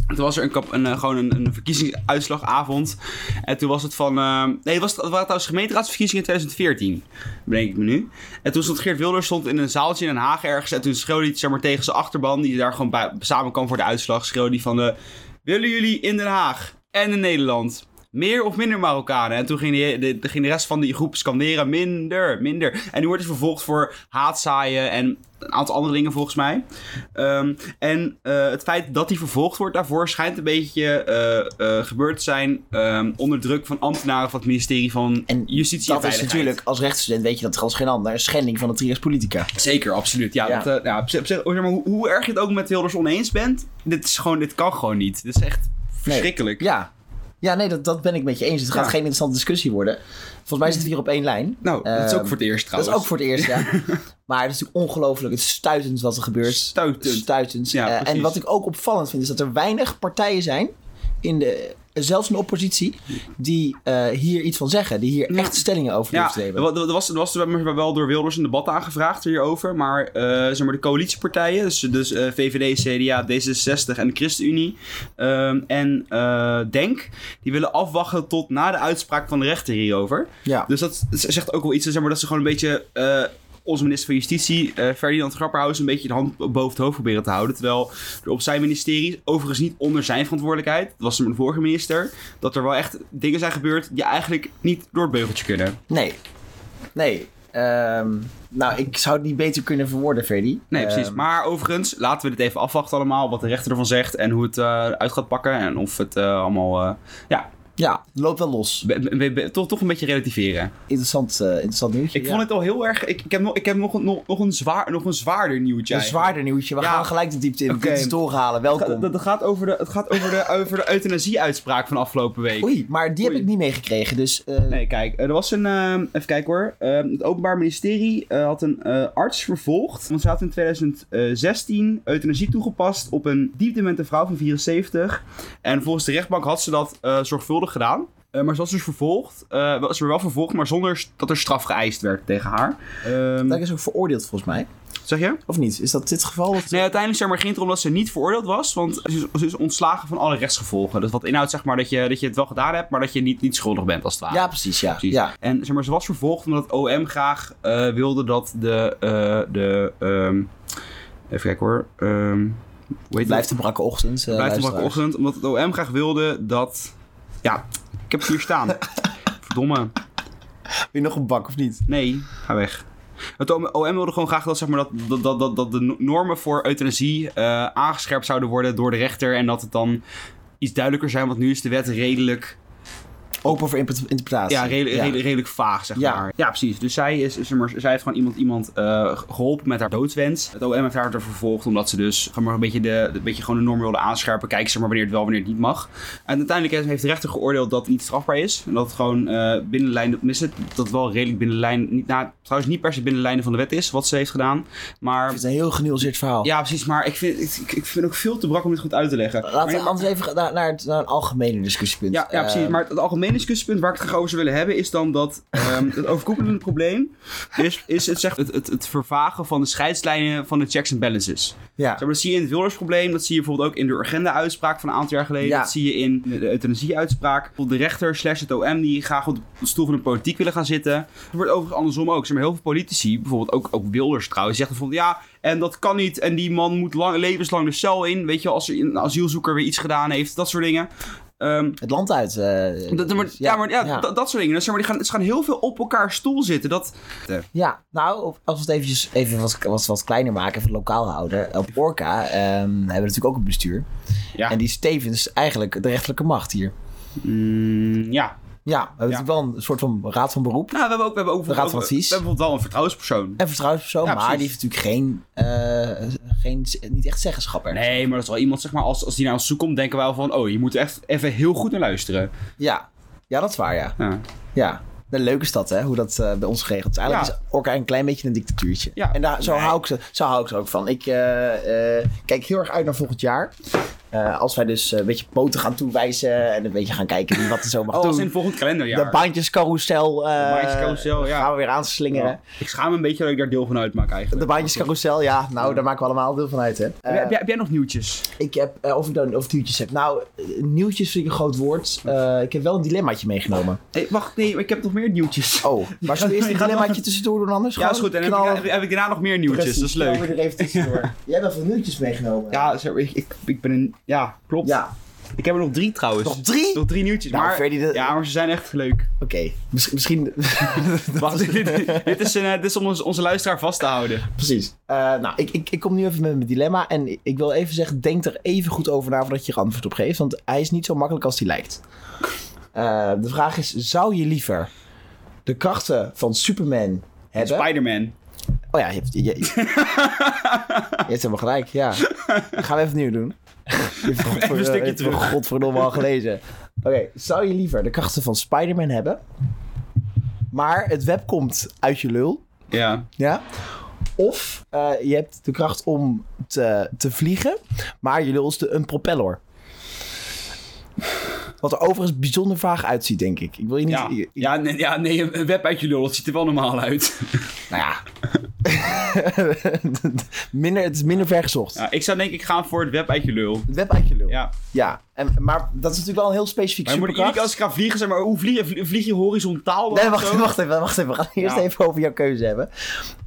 [SPEAKER 2] toen was er een, kap- een, eh, gewoon een, een verkiezingsuitslagavond. En toen was het van... ehm, nee, het was, het waren trouwens gemeenteraadsverkiezingen in 2014. Bedenk ik me nu. En toen stond Geert Wilders stond in een zaaltje in Den Haag ergens. En toen schreeuwde hij het, zeg maar, tegen zijn achterban... die daar gewoon bij, samen kwam voor de uitslag. Schreeuwde hij van... eh, Willen jullie in Den Haag en in Nederland... Meer of minder Marokkanen? En toen ging de, de, de- ging de rest van die groep scanderen: minder, minder. En nu wordt hij vervolgd voor haatzaaien en een aantal andere dingen volgens mij. Ehm, en eh, het feit dat hij vervolgd wordt daarvoor schijnt een beetje eh, eh, gebeurd te zijn ehm, onder druk van ambtenaren van het ministerie van
[SPEAKER 1] En
[SPEAKER 2] Justitie en
[SPEAKER 1] dat is
[SPEAKER 2] Veiligheid.
[SPEAKER 1] natuurlijk, als rechtsstudent weet je dat als geen ander, een schending van de trias politica.
[SPEAKER 2] Zeker, absoluut. Ja,
[SPEAKER 1] Ja.
[SPEAKER 2] Dat, eh, ja, op zich- op zich- zeg maar, hoe, hoe erg je het ook met Wilders oneens bent, dit, is gewoon, dit kan gewoon niet. Dit is echt verschrikkelijk.
[SPEAKER 1] Ja. Ja, nee, dat, dat ben ik met je eens. Het gaat
[SPEAKER 2] Ja.
[SPEAKER 1] geen interessante discussie worden. Volgens mij zitten we hier op één lijn.
[SPEAKER 2] Nou, dat is ook
[SPEAKER 1] Ehm,
[SPEAKER 2] voor het eerst
[SPEAKER 1] Dat is
[SPEAKER 2] trouwens.
[SPEAKER 1] ook voor het eerst, ja. maar het is natuurlijk ongelooflijk. Het is stuitend wat er gebeurt.
[SPEAKER 2] Stuitend.
[SPEAKER 1] Stuitend.
[SPEAKER 2] Ja,
[SPEAKER 1] Eh, en
[SPEAKER 2] precies.
[SPEAKER 1] wat ik ook opvallend vind, is dat er weinig partijen zijn, in de, zelfs in de oppositie, die eh, hier iets van zeggen. Die hier
[SPEAKER 2] Ja.
[SPEAKER 1] echt stellingen over durven
[SPEAKER 2] Ja,
[SPEAKER 1] te
[SPEAKER 2] er
[SPEAKER 1] hebben.
[SPEAKER 2] wa- er was, er was wel door Wilders een debat aangevraagd hierover. Maar, eh, zeg maar de coalitiepartijen, dus, dus eh, VVD, CDA, D66 en de ChristenUnie ehm, en eh, DENK, die willen afwachten tot na de uitspraak van de rechter hierover.
[SPEAKER 1] Ja.
[SPEAKER 2] Dus dat z- zegt ook wel iets, zeg maar, dat ze gewoon een beetje eh, onze minister van Justitie, eh, Ferdinand Grapperhaus, een beetje de hand boven het hoofd proberen te houden. Terwijl er op zijn ministerie, overigens niet onder zijn verantwoordelijkheid, dat was de vorige minister, dat er wel echt dingen zijn gebeurd die eigenlijk niet door het beugeltje kunnen.
[SPEAKER 1] Nee. Nee. Ehm, nou, ik zou het niet beter kunnen verwoorden, Ferdy.
[SPEAKER 2] Nee, precies.
[SPEAKER 1] Ehm,
[SPEAKER 2] Maar overigens, laten we dit even afwachten allemaal, wat de rechter ervan zegt en hoe het eh, uit gaat pakken en of het eh, allemaal, eh, ja,
[SPEAKER 1] Ja, het loopt wel los.
[SPEAKER 2] be- be- be- toch, toch een beetje relativeren.
[SPEAKER 1] Interessant, eh, interessant nieuwtje.
[SPEAKER 2] Ik
[SPEAKER 1] ja.
[SPEAKER 2] vond het al heel erg, ik, ik heb, nog, ik heb nog, een- nog, nog een zwaar, nog een zwaarder nieuwtje
[SPEAKER 1] een
[SPEAKER 2] eigenlijk.
[SPEAKER 1] zwaarder nieuwtje. We
[SPEAKER 2] Ja.
[SPEAKER 1] gaan gelijk de diepte in.
[SPEAKER 2] Oké.
[SPEAKER 1] Dit is doorhalen. Welkom.
[SPEAKER 2] Dat, dat gaat over de, het gaat over de, over de euthanasie-uitspraak van afgelopen week.
[SPEAKER 1] Oei, maar die
[SPEAKER 2] Oei.
[SPEAKER 1] heb ik niet meegekregen. Dus eh,
[SPEAKER 2] Nee, kijk, er was een. ehm, even kijken hoor. Ehm, het Openbaar Ministerie eh, had een eh, arts vervolgd. Want ze had in 2016 euthanasie toegepast op een diepdemente vrouw van 74. En volgens de rechtbank had ze dat eh, zorgvuldig gedaan. Eh, maar ze was dus vervolgd. eh was er wel vervolgd, maar zonder st- dat er straf geëist werd tegen haar. Ehm,
[SPEAKER 1] dat is ook veroordeeld volgens mij.
[SPEAKER 2] zeg je?
[SPEAKER 1] Of niet? Is dat dit geval? Dat...
[SPEAKER 2] Nee, uiteindelijk zeg maar, ging het erom dat ze niet veroordeeld was, want ze is, ze is ontslagen van alle rechtsgevolgen. Dus wat inhoudt zeg maar, dat, je, dat je het wel gedaan hebt, maar dat je niet, niet schuldig bent als het ware.
[SPEAKER 1] Ja, precies. Ja.
[SPEAKER 2] Precies.
[SPEAKER 1] ja.
[SPEAKER 2] En zeg maar, ze was vervolgd omdat het OM graag eh, wilde dat de. eh, de ehm, even kijken hoor. ehm hoe heet
[SPEAKER 1] Blijft
[SPEAKER 2] het?
[SPEAKER 1] een brakke ochtend. eh,
[SPEAKER 2] Blijft de
[SPEAKER 1] luisteraars.
[SPEAKER 2] ochtend. Omdat het OM graag wilde dat. Ja, ik heb het hier staan. Verdomme.
[SPEAKER 1] Wil je nog een bak of niet?
[SPEAKER 2] Nee, ga weg. Het OM wilde gewoon graag dat, zeg maar, dat- dat, dat, dat, dat de no- normen voor euthanasie eh, aangescherpt zouden worden door de rechter. En dat het dan iets duidelijker zijn, want nu is de wet redelijk,
[SPEAKER 1] Open voor interpre- interpretatie.
[SPEAKER 2] ja, redelijk, redelijk, redelijk vaag, zeg
[SPEAKER 1] Ja.
[SPEAKER 2] maar. Ja, precies. Dus zij, is, zeg maar, zij heeft gewoon iemand, iemand eh, geholpen met haar doodswens. Het OM heeft haar er vervolgd omdat ze dus zeg maar, een, beetje de, een beetje gewoon de normen wilde aanscherpen. Kijken zeg maar, wanneer het wel, wanneer het niet mag. En uiteindelijk heeft- heeft de rechter geoordeeld dat het niet strafbaar is. En dat het gewoon eh, binnen de lijn, dat mis het, dat het wel redelijk binnen de lijn, niet, nou, trouwens niet per se binnen de lijnen van de wet is, wat ze heeft gedaan.
[SPEAKER 1] Ik
[SPEAKER 2] Maar
[SPEAKER 1] vind het een heel genuanceerd verhaal.
[SPEAKER 2] ja, precies. Maar ik vind, ik, ik vind het ook veel te brak om dit goed uit te leggen. Maar-
[SPEAKER 1] Laten we anders even naar, naar, het, naar een algemene discussiepunt.
[SPEAKER 2] ja, ja, precies.
[SPEAKER 1] Eh,
[SPEAKER 2] Maar het algemene discussiepunt waar ik het graag over zou willen hebben... is dan dat ehm, het overkoepelende probleem... is, is het, zeg, het, het, het vervagen van de scheidslijnen van de checks en balances.
[SPEAKER 1] ja.
[SPEAKER 2] Zeg maar, dat zie je in het Wilders-probleem. Dat zie je bijvoorbeeld ook in de Urgenda-uitspraak van een aantal jaar geleden.
[SPEAKER 1] Ja.
[SPEAKER 2] Dat zie je in de de euthanasie-uitspraak. Bijvoorbeeld de rechter slash het OM die graag op de stoel van de politiek willen gaan zitten. Het wordt overigens andersom ook. Zeg maar, heel veel politici, bijvoorbeeld ook, ook Wilders trouwens, zeggen bijvoorbeeld... ja, en dat kan niet. En die man moet lang, levenslang de cel in. Weet je, als er een asielzoeker weer iets gedaan heeft. Dat soort dingen. Ehm,
[SPEAKER 1] Het land uit. eh,
[SPEAKER 2] dat, maar, ja,
[SPEAKER 1] dus,
[SPEAKER 2] maar ja, Dat, dat soort dingen. Dus zeg maar, die gaan, ze gaan heel veel op elkaar stoel zitten. Dat,
[SPEAKER 1] Ja, nou, op- als we het eventjes even wat, wat, wat kleiner maken, even lokaal houden. Op Orca ehm, hebben we natuurlijk ook een bestuur.
[SPEAKER 2] Ja.
[SPEAKER 1] En die is tevens eigenlijk de rechterlijke macht hier.
[SPEAKER 2] Mm, ja.
[SPEAKER 1] Ja, we hebben natuurlijk wel een soort van raad van beroep.
[SPEAKER 2] Nou, we hebben ook, we hebben ook,
[SPEAKER 1] De Raad van
[SPEAKER 2] ook-
[SPEAKER 1] Advies.
[SPEAKER 2] We hebben bijvoorbeeld wel een vertrouwenspersoon.
[SPEAKER 1] En vertrouwenspersoon,
[SPEAKER 2] Ja,
[SPEAKER 1] maar die
[SPEAKER 2] precies.
[SPEAKER 1] heeft natuurlijk geen, eh, geen, niet echt zeggenschap ergens.
[SPEAKER 2] Nee, maar dat is wel iemand, zeg maar, als, als die naar ons toe komt, denken wij al van, oh, je moet er echt even heel goed naar luisteren.
[SPEAKER 1] Ja. ja, dat is waar, ja.
[SPEAKER 2] Ja.
[SPEAKER 1] ja. De leuke stad, hè, hoe dat eh, bij ons geregeld is. Eigenlijk
[SPEAKER 2] Ja.
[SPEAKER 1] is Orca een klein beetje een dictatuurtje.
[SPEAKER 2] Ja.
[SPEAKER 1] En daar, zo,
[SPEAKER 2] Nee.
[SPEAKER 1] hou ik ze, zo hou ik ze ook van. Ik eh, eh, kijk heel erg uit naar volgend jaar. Eh, als wij dus eh, een beetje poten gaan toewijzen en een beetje gaan kijken wie wat er zo mag
[SPEAKER 2] Oh, als
[SPEAKER 1] doen.
[SPEAKER 2] in het volgend kalenderjaar.
[SPEAKER 1] De baantjescarousel, eh,
[SPEAKER 2] De baantjescarousel, ja.
[SPEAKER 1] gaan we weer aanslingeren.
[SPEAKER 2] Ja. Ik schaam me een beetje dat ik daar deel van uitmaak eigenlijk.
[SPEAKER 1] De baantjescarousel, ja, nou, daar maken we allemaal deel van uit, hè.
[SPEAKER 2] Heb,
[SPEAKER 1] Eh,
[SPEAKER 2] jij- heb jij, heb jij nog nieuwtjes?
[SPEAKER 1] Ik heb, eh, of ik dan of nieuwtjes heb. Nou, eh, nieuwtjes vind ik een groot woord. Eh, ik heb wel een dilemmaatje meegenomen.
[SPEAKER 2] Hey, wacht, nee, maar ik heb nog meer nieuwtjes.
[SPEAKER 1] Oh, maar zullen we eerst
[SPEAKER 2] je
[SPEAKER 1] een
[SPEAKER 2] gaat
[SPEAKER 1] dilemmaatje
[SPEAKER 2] nog-
[SPEAKER 1] tussendoor doen anders?
[SPEAKER 2] ja, is
[SPEAKER 1] Gewoon
[SPEAKER 2] goed. En heb,
[SPEAKER 1] knallen.
[SPEAKER 2] ik, heb ik daarna nog meer nieuwtjes,
[SPEAKER 1] Precies,
[SPEAKER 2] dat is leuk.
[SPEAKER 1] knallen we er even tussendoor. Jij hebt wel nieuwtjes meegenomen.
[SPEAKER 2] Ja, sorry, ik, ik, ik ben een... Ja, klopt.
[SPEAKER 1] Ja,
[SPEAKER 2] Ik heb er nog drie trouwens.
[SPEAKER 1] nog drie?
[SPEAKER 2] Nog drie nieuwtjes,
[SPEAKER 1] Nou,
[SPEAKER 2] maar...
[SPEAKER 1] Ferdy, dat-
[SPEAKER 2] Ja, maar ze zijn echt leuk.
[SPEAKER 1] Oké, misschien... misschien
[SPEAKER 2] Wacht, dit, dit- dit is, een, eh, dit is om ons- onze luisteraar vast te houden.
[SPEAKER 1] precies. Eh, nou, ik, ik, ik kom nu even met mijn dilemma. En ik wil even zeggen, denk er even goed over na voordat je er antwoord op geeft. Want hij is niet zo makkelijk als hij lijkt. Eh, de vraag is, zou je liever de krachten van Superman hebben...
[SPEAKER 2] Spider-Man.
[SPEAKER 1] Oh ja, je hebt, je, je, je hebt helemaal gelijk, ja. Gaan we even opnieuw doen. Je hebt godverdomme-
[SPEAKER 2] Even een stukje
[SPEAKER 1] je hebt
[SPEAKER 2] terug.
[SPEAKER 1] godverdomme al gelezen. Oké, zou je liever de krachten van Spider-Man hebben... maar het web komt uit je lul,
[SPEAKER 2] Ja.
[SPEAKER 1] ja? Of eh, je hebt de kracht om te, te vliegen... maar je lul is de, een propeller. Wat er overigens bijzonder vaag uitziet, denk ik. Ik wil je niet...
[SPEAKER 2] Ja.
[SPEAKER 1] ik-
[SPEAKER 2] Ja, nee, ja, nee, een web uit je lul, dat ziet er wel normaal uit.
[SPEAKER 1] Nou ja... minder, het is minder ver gezocht.
[SPEAKER 2] Ja, ik zou denk ik gaan voor het web uit je lul.
[SPEAKER 1] Het web uit je lul.
[SPEAKER 2] Ja.
[SPEAKER 1] Ja, en, maar dat is natuurlijk wel een heel specifiek
[SPEAKER 2] Maar je moet ik iedere
[SPEAKER 1] superkracht.
[SPEAKER 2] keer als ik ga vliegen, zeg maar, hoe vlieg je? Vlie- Vlieg je horizontaal? dan
[SPEAKER 1] Nee,
[SPEAKER 2] of
[SPEAKER 1] wacht,
[SPEAKER 2] zo?
[SPEAKER 1] even, wacht even, wacht even. We gaan eerst
[SPEAKER 2] Ja.
[SPEAKER 1] even over jouw keuze hebben.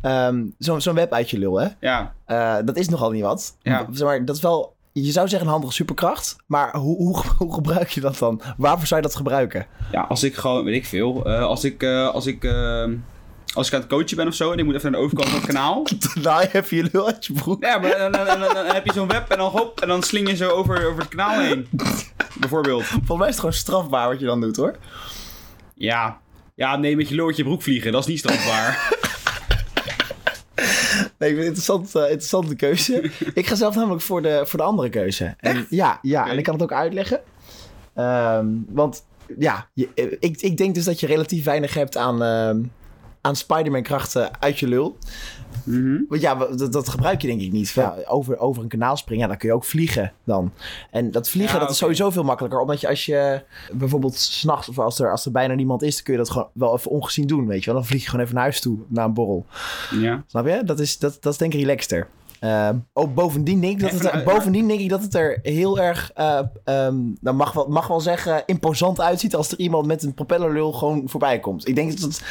[SPEAKER 1] Ehm, Zo'n zo'n web uit je lul, hè?
[SPEAKER 2] Ja,
[SPEAKER 1] Eh, dat is nogal niet wat.
[SPEAKER 2] Ja.
[SPEAKER 1] Zeg maar, dat is wel... Je zou zeggen een handige superkracht, maar hoe, hoe, hoe gebruik je dat dan? Waarvoor zou je dat gebruiken?
[SPEAKER 2] ja, als ik gewoon, weet ik veel. eh, als ik, eh, als ik, ehm, als ik aan het coachen ben of zo en ik moet even naar de overkant van het kanaal.
[SPEAKER 1] Nou, je hebt je lul uit je broek.
[SPEAKER 2] Ja, maar dan, dan, dan, dan- dan heb je zo'n web en dan hop, en dan sling je zo over, over het kanaal heen. Bijvoorbeeld.
[SPEAKER 1] Volgens mij is het gewoon strafbaar wat je dan doet, hoor.
[SPEAKER 2] Ja. Ja, nee, met je lul uit je broek vliegen, dat is niet strafbaar.
[SPEAKER 1] Nee, ik vind het een interessant, eh, interessante keuze. ik ga zelf namelijk voor de, voor de andere keuze. En, ja, ja
[SPEAKER 2] Oké.
[SPEAKER 1] en ik kan het ook uitleggen. Ehm, want ja, je- eh, ik, ik denk dus dat je relatief weinig hebt aan, ehm, aan Spider-Man-krachten uit je lul.
[SPEAKER 2] Mhm.
[SPEAKER 1] Want ja, wa- dat, dat gebruik je denk ik niet. Ja, over, over een kanaal springen, ja, dan kun je ook vliegen dan. En dat vliegen,
[SPEAKER 2] Ja,
[SPEAKER 1] dat is
[SPEAKER 2] oké.
[SPEAKER 1] sowieso veel makkelijker. Omdat je als je bijvoorbeeld s'nachts of als er, als er bijna niemand is... dan kun je dat gewoon wel even ongezien doen, weet je wel. Dan vlieg je gewoon even naar huis toe, naar een borrel.
[SPEAKER 2] Ja.
[SPEAKER 1] Snap je? Dat is, dat, dat is denk ik relaxter. Ehm, ook bovendien denk, ik dat het er,
[SPEAKER 2] Even, eh,
[SPEAKER 1] bovendien denk ik dat het er heel erg, eh ehm, nou mag wel, mag wel zeggen, imposant uitziet als er iemand met een propellerlul gewoon voorbij komt. Ik denk dat het,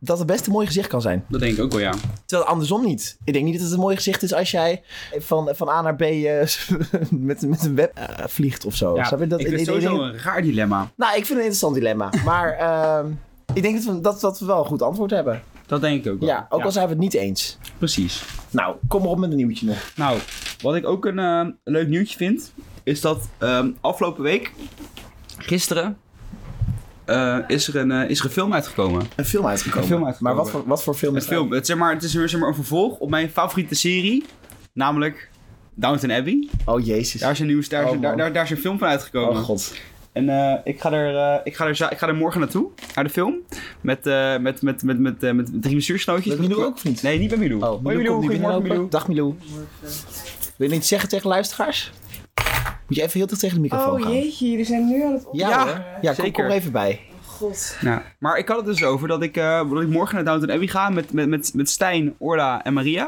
[SPEAKER 1] dat het best een mooi gezicht kan zijn.
[SPEAKER 2] Dat denk ik ook wel, ja.
[SPEAKER 1] Terwijl het andersom niet. Ik denk niet dat het een mooi gezicht is als jij van, van A naar B eh, met, met een web eh, vliegt of zo.
[SPEAKER 2] ja
[SPEAKER 1] Snap je? Dat,
[SPEAKER 2] ik vind het sowieso
[SPEAKER 1] denk-
[SPEAKER 2] een raar dilemma.
[SPEAKER 1] nou, ik vind het een interessant dilemma. Maar ehm, ik denk dat we, dat, dat we wel een goed antwoord hebben.
[SPEAKER 2] Dat denk ik ook wel.
[SPEAKER 1] Ja, ook al zijn we het niet eens.
[SPEAKER 2] Precies.
[SPEAKER 1] Nou, kom maar op met een nieuwtje nog.
[SPEAKER 2] Nou, wat ik ook een eh, leuk nieuwtje vind, is dat ehm, afgelopen week, gisteren, eh, is, er een, eh, is er een film uitgekomen.
[SPEAKER 1] Een film uitgekomen.
[SPEAKER 2] Een film uitgekomen.
[SPEAKER 1] Maar wat voor, wat voor film
[SPEAKER 2] Het,
[SPEAKER 1] is
[SPEAKER 2] film, het, zeg maar, het is weer zeg maar, een vervolg op mijn favoriete serie, namelijk Downton Abbey.
[SPEAKER 1] dat? Oh jezus.
[SPEAKER 2] Daar is een, nieuws, daar is,
[SPEAKER 1] Oh,
[SPEAKER 2] een- daar,
[SPEAKER 1] man.
[SPEAKER 2] daar, daar is een film van uitgekomen.
[SPEAKER 1] oh god.
[SPEAKER 2] En eh, ik, ga er, eh, ik, ga er, za- ik ga er morgen naartoe, naar de film, met, eh, met, met, met, met, eh, met drie bestuursnootjes.
[SPEAKER 1] Met Milou ook of niet?
[SPEAKER 2] Nee, niet met Milou.
[SPEAKER 1] Oh,
[SPEAKER 2] Hoi Milou,
[SPEAKER 1] komt nu
[SPEAKER 2] goedemorgen
[SPEAKER 1] binnenlopen.
[SPEAKER 2] Milou.
[SPEAKER 1] Dag Milou. Wil je iets zeggen tegen luisteraars? Moet je even heel dicht tegen de microfoon
[SPEAKER 4] Oh
[SPEAKER 1] gaan.
[SPEAKER 4] jeetje, jullie zijn nu aan het op.
[SPEAKER 1] Ja,
[SPEAKER 2] Ja,
[SPEAKER 1] hoor. Ja, kom,
[SPEAKER 2] zeker.
[SPEAKER 1] kom er even bij.
[SPEAKER 4] God.
[SPEAKER 2] Nou, maar ik had het dus over dat ik, eh, dat ik morgen naar Downton Abbey ga met, met, met, met Stijn, Orla en Maria.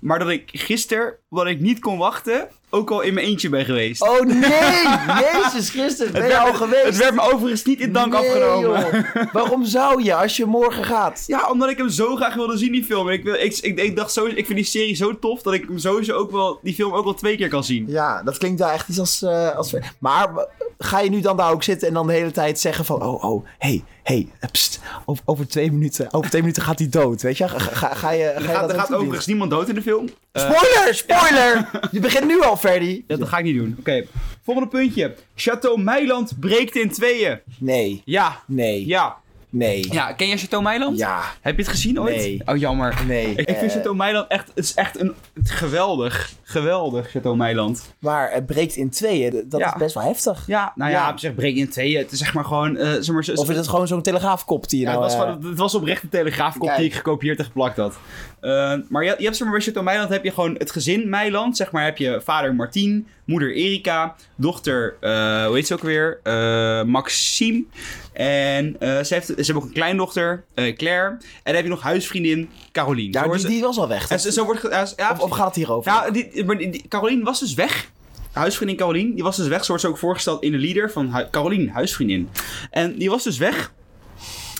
[SPEAKER 2] Maar dat ik gisteren, wat ik niet kon wachten, ook al in mijn eentje ben geweest.
[SPEAKER 1] Oh nee! Jezus Christus, ben je al geweest?
[SPEAKER 2] Het werd me overigens niet in dank
[SPEAKER 1] Nee,
[SPEAKER 2] afgenomen.
[SPEAKER 1] joh. Waarom zou je als je morgen gaat?
[SPEAKER 2] Ja, omdat ik hem zo graag wilde zien, die film. En Ik, wil, ik, ik, ik dacht zo, ik vind die serie zo tof dat ik hem sowieso ook wel, die film ook wel twee keer kan zien.
[SPEAKER 1] Ja, dat klinkt wel echt iets als... eh, als... Maar w- ga je nu dan daar ook zitten en dan de hele tijd zeggen van... Oh, oh, hey, hey, eh, pst, over, over twee minuten, over twee minuten gaat hij dood, weet je? Ga, ga, ga je, ga
[SPEAKER 2] Er
[SPEAKER 1] je dat
[SPEAKER 2] gaat, er gaat
[SPEAKER 1] naartoe doen?
[SPEAKER 2] overigens niemand dood in de film. Eh,
[SPEAKER 1] Spoiler, spoiler! Je begint nu al, Ferdy.
[SPEAKER 2] dat, dat ga ik niet doen. Oké, volgende puntje. Chateau Meiland breekt in tweeën.
[SPEAKER 1] Nee,
[SPEAKER 2] Ja,
[SPEAKER 1] nee,
[SPEAKER 2] ja.
[SPEAKER 1] nee,
[SPEAKER 2] Ja, ken jij Chateau Meiland?
[SPEAKER 1] ja,
[SPEAKER 2] Heb je het gezien ooit?
[SPEAKER 1] Nee.
[SPEAKER 2] Oh, jammer.
[SPEAKER 1] nee.
[SPEAKER 2] Ik, ik
[SPEAKER 1] Eh,
[SPEAKER 2] vind Chateau Meiland echt, het is echt een, het is geweldig, geweldig Chateau Meiland.
[SPEAKER 1] Maar het breekt in tweeën, dat
[SPEAKER 2] Ja.
[SPEAKER 1] is best wel heftig.
[SPEAKER 2] Ja, nou ja,
[SPEAKER 1] Ja.
[SPEAKER 2] op zich breekt in tweeën. Het is zeg maar gewoon, eh, zeg maar, zo-
[SPEAKER 1] Of is het gewoon zo'n telegraafkop die je
[SPEAKER 2] Ja, het,
[SPEAKER 1] nou...
[SPEAKER 2] was
[SPEAKER 1] eh,
[SPEAKER 2] gewoon, het was oprecht een telegraafkop die
[SPEAKER 1] Kijk.
[SPEAKER 2] ik gekopieerd en geplakt had. Eh, maar je, je hebt zeg maar bij Chateau Meiland heb je gewoon het gezin Meiland. Zeg maar heb je vader Martien, moeder Erika, dochter, eh, hoe heet ze ook weer? Eh, Maxime. En eh, ze, heeft, ze hebben ook een kleindochter, eh, Claire. En dan heb je nog huisvriendin Caroline.
[SPEAKER 1] Ja,
[SPEAKER 2] Zo
[SPEAKER 1] die,
[SPEAKER 2] wordt-
[SPEAKER 1] die was al weg.
[SPEAKER 2] en zo- zo wordt, ge- ja, ja,
[SPEAKER 1] Of, of gaat het hierover?
[SPEAKER 2] nou, die, maar die- die- Caroline was dus weg. Huisvriendin Caroline, die was dus weg. Ze wordt zo ook voorgesteld in de leader van hui- Caroline, huisvriendin. En die was dus weg.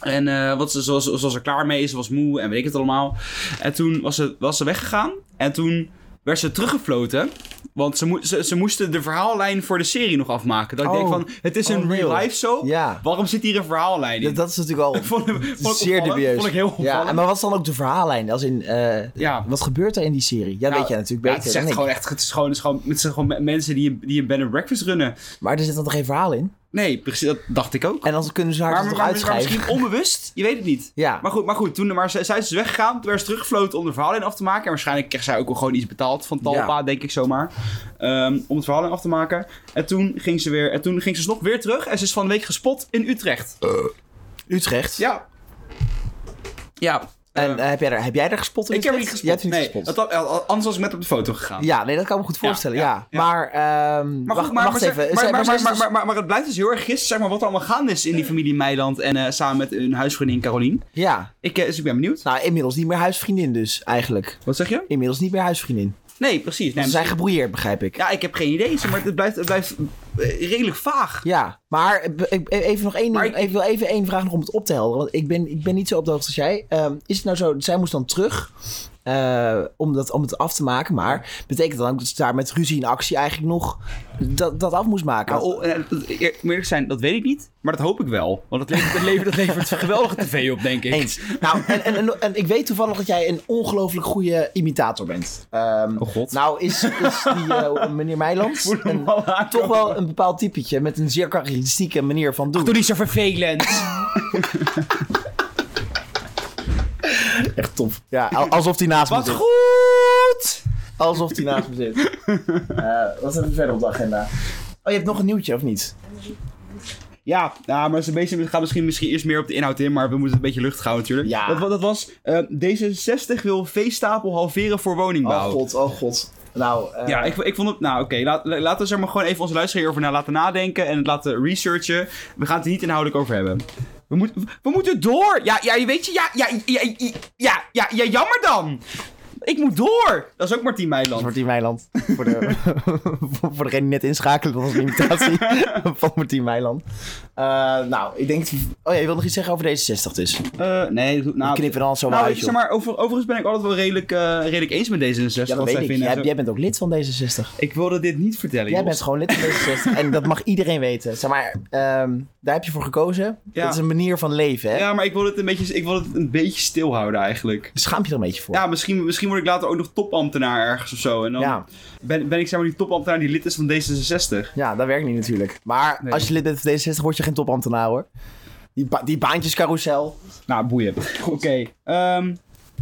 [SPEAKER 2] En eh, wat ze, ze, was, ze was er klaar mee, ze was moe en weet ik het allemaal. En toen was ze, was ze weggegaan. En toen werd ze teruggefloten. Want ze, moe- ze, ze moesten de verhaallijn voor de serie nog afmaken. Dat ik
[SPEAKER 1] Oh.
[SPEAKER 2] denk van, het is een
[SPEAKER 1] Oh, nee.
[SPEAKER 2] real life soap.
[SPEAKER 1] Ja.
[SPEAKER 2] Waarom zit hier een verhaallijn in?
[SPEAKER 1] Dat, dat is natuurlijk al
[SPEAKER 2] vond ik, vond ik
[SPEAKER 1] zeer
[SPEAKER 2] opvallend.
[SPEAKER 1] dubieus.
[SPEAKER 2] Vond ik heel
[SPEAKER 1] ja,
[SPEAKER 2] opvallend.
[SPEAKER 1] en maar wat is dan ook de verhaallijn? Als in, eh,
[SPEAKER 2] Ja.
[SPEAKER 1] wat gebeurt er in die serie? Ja,
[SPEAKER 2] Nou,
[SPEAKER 1] weet je natuurlijk
[SPEAKER 2] ja,
[SPEAKER 1] beter
[SPEAKER 2] het is
[SPEAKER 1] dan
[SPEAKER 2] echt
[SPEAKER 1] ik.
[SPEAKER 2] gewoon echt, het is gewoon, het is gewoon, het zijn gewoon me- mensen die, een- die een bed and breakfast runnen.
[SPEAKER 1] Maar er zit dan toch geen verhaal in?
[SPEAKER 2] Nee, precies, dat dacht ik ook.
[SPEAKER 1] En dan kunnen ze haar
[SPEAKER 2] maar,
[SPEAKER 1] toch
[SPEAKER 2] maar- maar
[SPEAKER 1] uitschrijven?
[SPEAKER 2] misschien onbewust, je weet het niet.
[SPEAKER 1] Ja.
[SPEAKER 2] Maar goed, maar goed toen maar zij zij is dus weggegaan, toen werd ze teruggefloten om de verhaallijn af te maken. En waarschijnlijk kreeg zij ook wel gewoon iets betaald van Talpa,
[SPEAKER 1] Ja.
[SPEAKER 2] denk ik zomaar. ehm, om het verhaallijn af te maken. En toen ging ze weer, en toen ging ze dus nog weer terug. En ze is van de week gespot in Utrecht.
[SPEAKER 1] Eh. Utrecht.
[SPEAKER 2] Ja. Ja.
[SPEAKER 1] En
[SPEAKER 2] eh,
[SPEAKER 1] eh, heb, jij er, heb jij er gespot in
[SPEAKER 2] ik heb haar niet
[SPEAKER 1] Utrecht?
[SPEAKER 2] gespot.
[SPEAKER 1] Jij hebt haar
[SPEAKER 2] nee,
[SPEAKER 1] niet gespot.
[SPEAKER 2] dat had- al- anders was ik met op de foto gegaan.
[SPEAKER 1] Ja, nee, dat kan ik me goed voorstellen,
[SPEAKER 2] ja,
[SPEAKER 1] ja.
[SPEAKER 2] ja.
[SPEAKER 1] Maar, ehm,
[SPEAKER 2] Maar,
[SPEAKER 1] wacht,
[SPEAKER 2] goed, maar,
[SPEAKER 1] wacht
[SPEAKER 2] maar,
[SPEAKER 1] even.
[SPEAKER 2] maar,
[SPEAKER 1] Zij- zij
[SPEAKER 2] maar, maar,
[SPEAKER 1] is
[SPEAKER 2] maar,
[SPEAKER 1] dus-
[SPEAKER 2] maar, maar het blijft dus heel erg gisteren zeg maar, wat er allemaal gaande is in die familie Meiland en eh, samen met hun huisvriendin Carolien.
[SPEAKER 1] Ja,
[SPEAKER 2] Ik, eh, dus ik ben benieuwd.
[SPEAKER 1] nou, inmiddels niet meer huisvriendin dus, eigenlijk.
[SPEAKER 2] Wat zeg je?
[SPEAKER 1] Inmiddels niet meer huisvriendin.
[SPEAKER 2] Nee, precies. Nee,
[SPEAKER 1] Ze zijn gebrouilleerd, begrijp ik.
[SPEAKER 2] Ja, ik heb geen idee, zeg maar het blijft, het blijft eh, redelijk vaag.
[SPEAKER 1] Ja, maar eh, ik- even nog één,
[SPEAKER 2] Maar
[SPEAKER 1] ding- ik wil even één vraag nog om het op te helderen. Want ik ben, ik ben niet zo op de hoogte als jij. Ehm, is het nou zo, zij moest dan terug eh, om, dat, om het af te maken. Maar betekent dat dan ook dat ze daar met ruzie in actie eigenlijk nog dat, dat af moest maken?
[SPEAKER 2] Nou, oh, eh, dat- eer- om eerlijk te zijn, dat weet ik niet, maar dat hoop ik wel. Want dat levert, dat levert, dat levert geweldige tv op, denk ik.
[SPEAKER 1] Eens. Nou, en, en, en, en ik weet toevallig dat jij een ongelooflijk goede imitator bent. Ehm,
[SPEAKER 2] Oh god.
[SPEAKER 1] Nou, is, is die eh, meneer Meiland
[SPEAKER 2] Voel hem
[SPEAKER 1] een-
[SPEAKER 2] al aankomen.
[SPEAKER 1] toch wel een bepaald typetje met een zeer karakteristieke manier van doen.
[SPEAKER 2] Doe niet zo vervelend.
[SPEAKER 1] Echt tof. Ja, al- alsof hij naast me
[SPEAKER 2] Wat
[SPEAKER 1] zit.
[SPEAKER 2] goed!
[SPEAKER 1] Alsof die naast me zit. Eh, wat hebben we verder op de agenda? Oh, je hebt nog een nieuwtje, of niet?
[SPEAKER 2] Ja, nou, maar ze bezig gaan misschien, misschien eerst meer op de inhoud in, maar we moeten het een beetje lucht houden natuurlijk.
[SPEAKER 1] Ja.
[SPEAKER 2] Dat, wa- dat was, eh, D66 wil veestapel halveren voor
[SPEAKER 1] Oh
[SPEAKER 2] woningbouw.
[SPEAKER 1] god, oh god. Nou, eh,
[SPEAKER 2] Ja, ik, ik vond het... Nou, oké. laat- la- laten we zeg maar gewoon even onze luisteraar hierover na laten nadenken en het laten researchen. We gaan het er niet inhoudelijk over hebben. We, moet, we moeten door! Ja, ja, je weet je... Ja, ja, ja, ja, ja, ja, ja, jammer dan! Ik moet door! Dat is ook Martien Meiland.
[SPEAKER 1] Martien Meiland. Voor, de, voor, voor degene die net inschakelen, dat was een imitatie van Martien Meiland. Eh, nou, ik denk... Oh ja, je wil nog iets zeggen over deze 60 dus.
[SPEAKER 2] Eh, nee, nou...
[SPEAKER 1] Dan knippen we dan zo maar
[SPEAKER 2] nou,
[SPEAKER 1] uit,
[SPEAKER 2] ik
[SPEAKER 1] joh.
[SPEAKER 2] zeg maar, over, overigens ben ik altijd wel redelijk, eh, redelijk eens met D66.
[SPEAKER 1] Ja, dat
[SPEAKER 2] wat zij
[SPEAKER 1] weet ik.
[SPEAKER 2] vinden en
[SPEAKER 1] Jij,
[SPEAKER 2] zo.
[SPEAKER 1] jij bent ook lid van D66.
[SPEAKER 2] Ik wilde dit niet vertellen,
[SPEAKER 1] Jij
[SPEAKER 2] Jos.
[SPEAKER 1] bent gewoon lid van D66. en dat mag iedereen weten. Zeg maar, ehm, daar heb je voor gekozen.
[SPEAKER 2] Ja.
[SPEAKER 1] Dat is een manier van leven, hè?
[SPEAKER 2] Ja, maar ik wil het een beetje, ik wil het een beetje stilhouden eigenlijk.
[SPEAKER 1] Schaam je er een beetje voor.
[SPEAKER 2] Ja, misschien, misschien word ik later ook nog topambtenaar ergens of zo. En dan
[SPEAKER 1] Ja.
[SPEAKER 2] ben, ben ik zeg maar die topambtenaar die lid is van D66.
[SPEAKER 1] Ja, dat werkt niet natuurlijk. Maar
[SPEAKER 2] Nee.
[SPEAKER 1] als je lid bent van D66, word je geen topambtenaar hoor. Die, ba- die baantjescarousel.
[SPEAKER 2] Nou, boeien. Oké. ehm,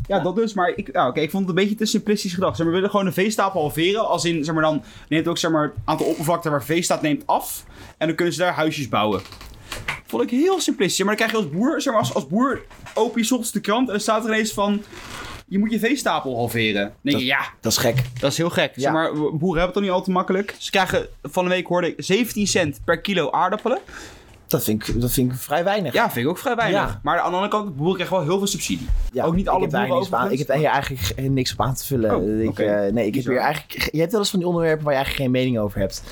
[SPEAKER 2] ja, dat dus. Maar ik, ja, oké, ik vond het een beetje te simplistisch gedacht. Zeg maar, we willen gewoon de veestapel halveren. Als in, zeg maar, dan neemt ook zeg maar, het aantal oppervlakte waar vee staat neemt af. En dan kunnen ze daar huisjes bouwen. Vond ik heel simplistisch. Maar dan krijg je als boer, zeg maar, als, als boer open je 's ochtends de krant en dan staat er ineens van... Je moet je veestapel halveren. Dan denk je, ja,
[SPEAKER 1] Dat is gek.
[SPEAKER 2] Dat is heel gek. Zeg
[SPEAKER 1] Ja.
[SPEAKER 2] maar, boeren hebben het toch niet al te makkelijk. Ze krijgen van de week hoorde ik 17 cent per kilo aardappelen.
[SPEAKER 1] Dat vind ik, dat vind ik vrij weinig.
[SPEAKER 2] Ja, vind ik ook vrij weinig.
[SPEAKER 1] Ja.
[SPEAKER 2] Maar aan de andere kant, de boeren krijgen wel heel veel subsidie.
[SPEAKER 1] Ja,
[SPEAKER 2] ook niet alle
[SPEAKER 1] ik heb, daar
[SPEAKER 2] boeren
[SPEAKER 1] niks op aan, ik
[SPEAKER 2] overigens.
[SPEAKER 1] heb hier eigenlijk ge- niks op aan te vullen.
[SPEAKER 2] Oh,
[SPEAKER 1] ik,
[SPEAKER 2] oké.
[SPEAKER 1] eh, nee, ik heb
[SPEAKER 2] Bizar.
[SPEAKER 1] hier eigenlijk, ge- je hebt wel eens van die onderwerpen waar je eigenlijk geen mening over hebt.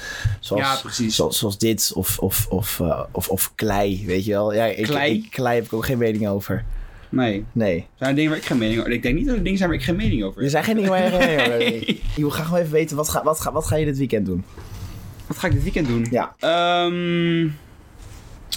[SPEAKER 1] Zoals,
[SPEAKER 2] Ja, precies.
[SPEAKER 1] Zoals, zoals dit of, of, of, eh, of, of klei, weet je wel. Ja, ik,
[SPEAKER 2] Klei?
[SPEAKER 1] ik- klei heb ik ook geen mening over.
[SPEAKER 2] Nee.
[SPEAKER 1] Nee.
[SPEAKER 2] Zijn er dingen waar ik geen mening over Ik denk niet dat er dingen zijn waar ik geen mening over
[SPEAKER 1] Er
[SPEAKER 2] heb.
[SPEAKER 1] zijn geen dingen waar je geen mening over hebt. Ik wil graag wel even weten, wat ga, wat, ga, wat ga je dit weekend doen?
[SPEAKER 2] Wat ga ik dit weekend doen?
[SPEAKER 1] Ja.
[SPEAKER 2] Ehm,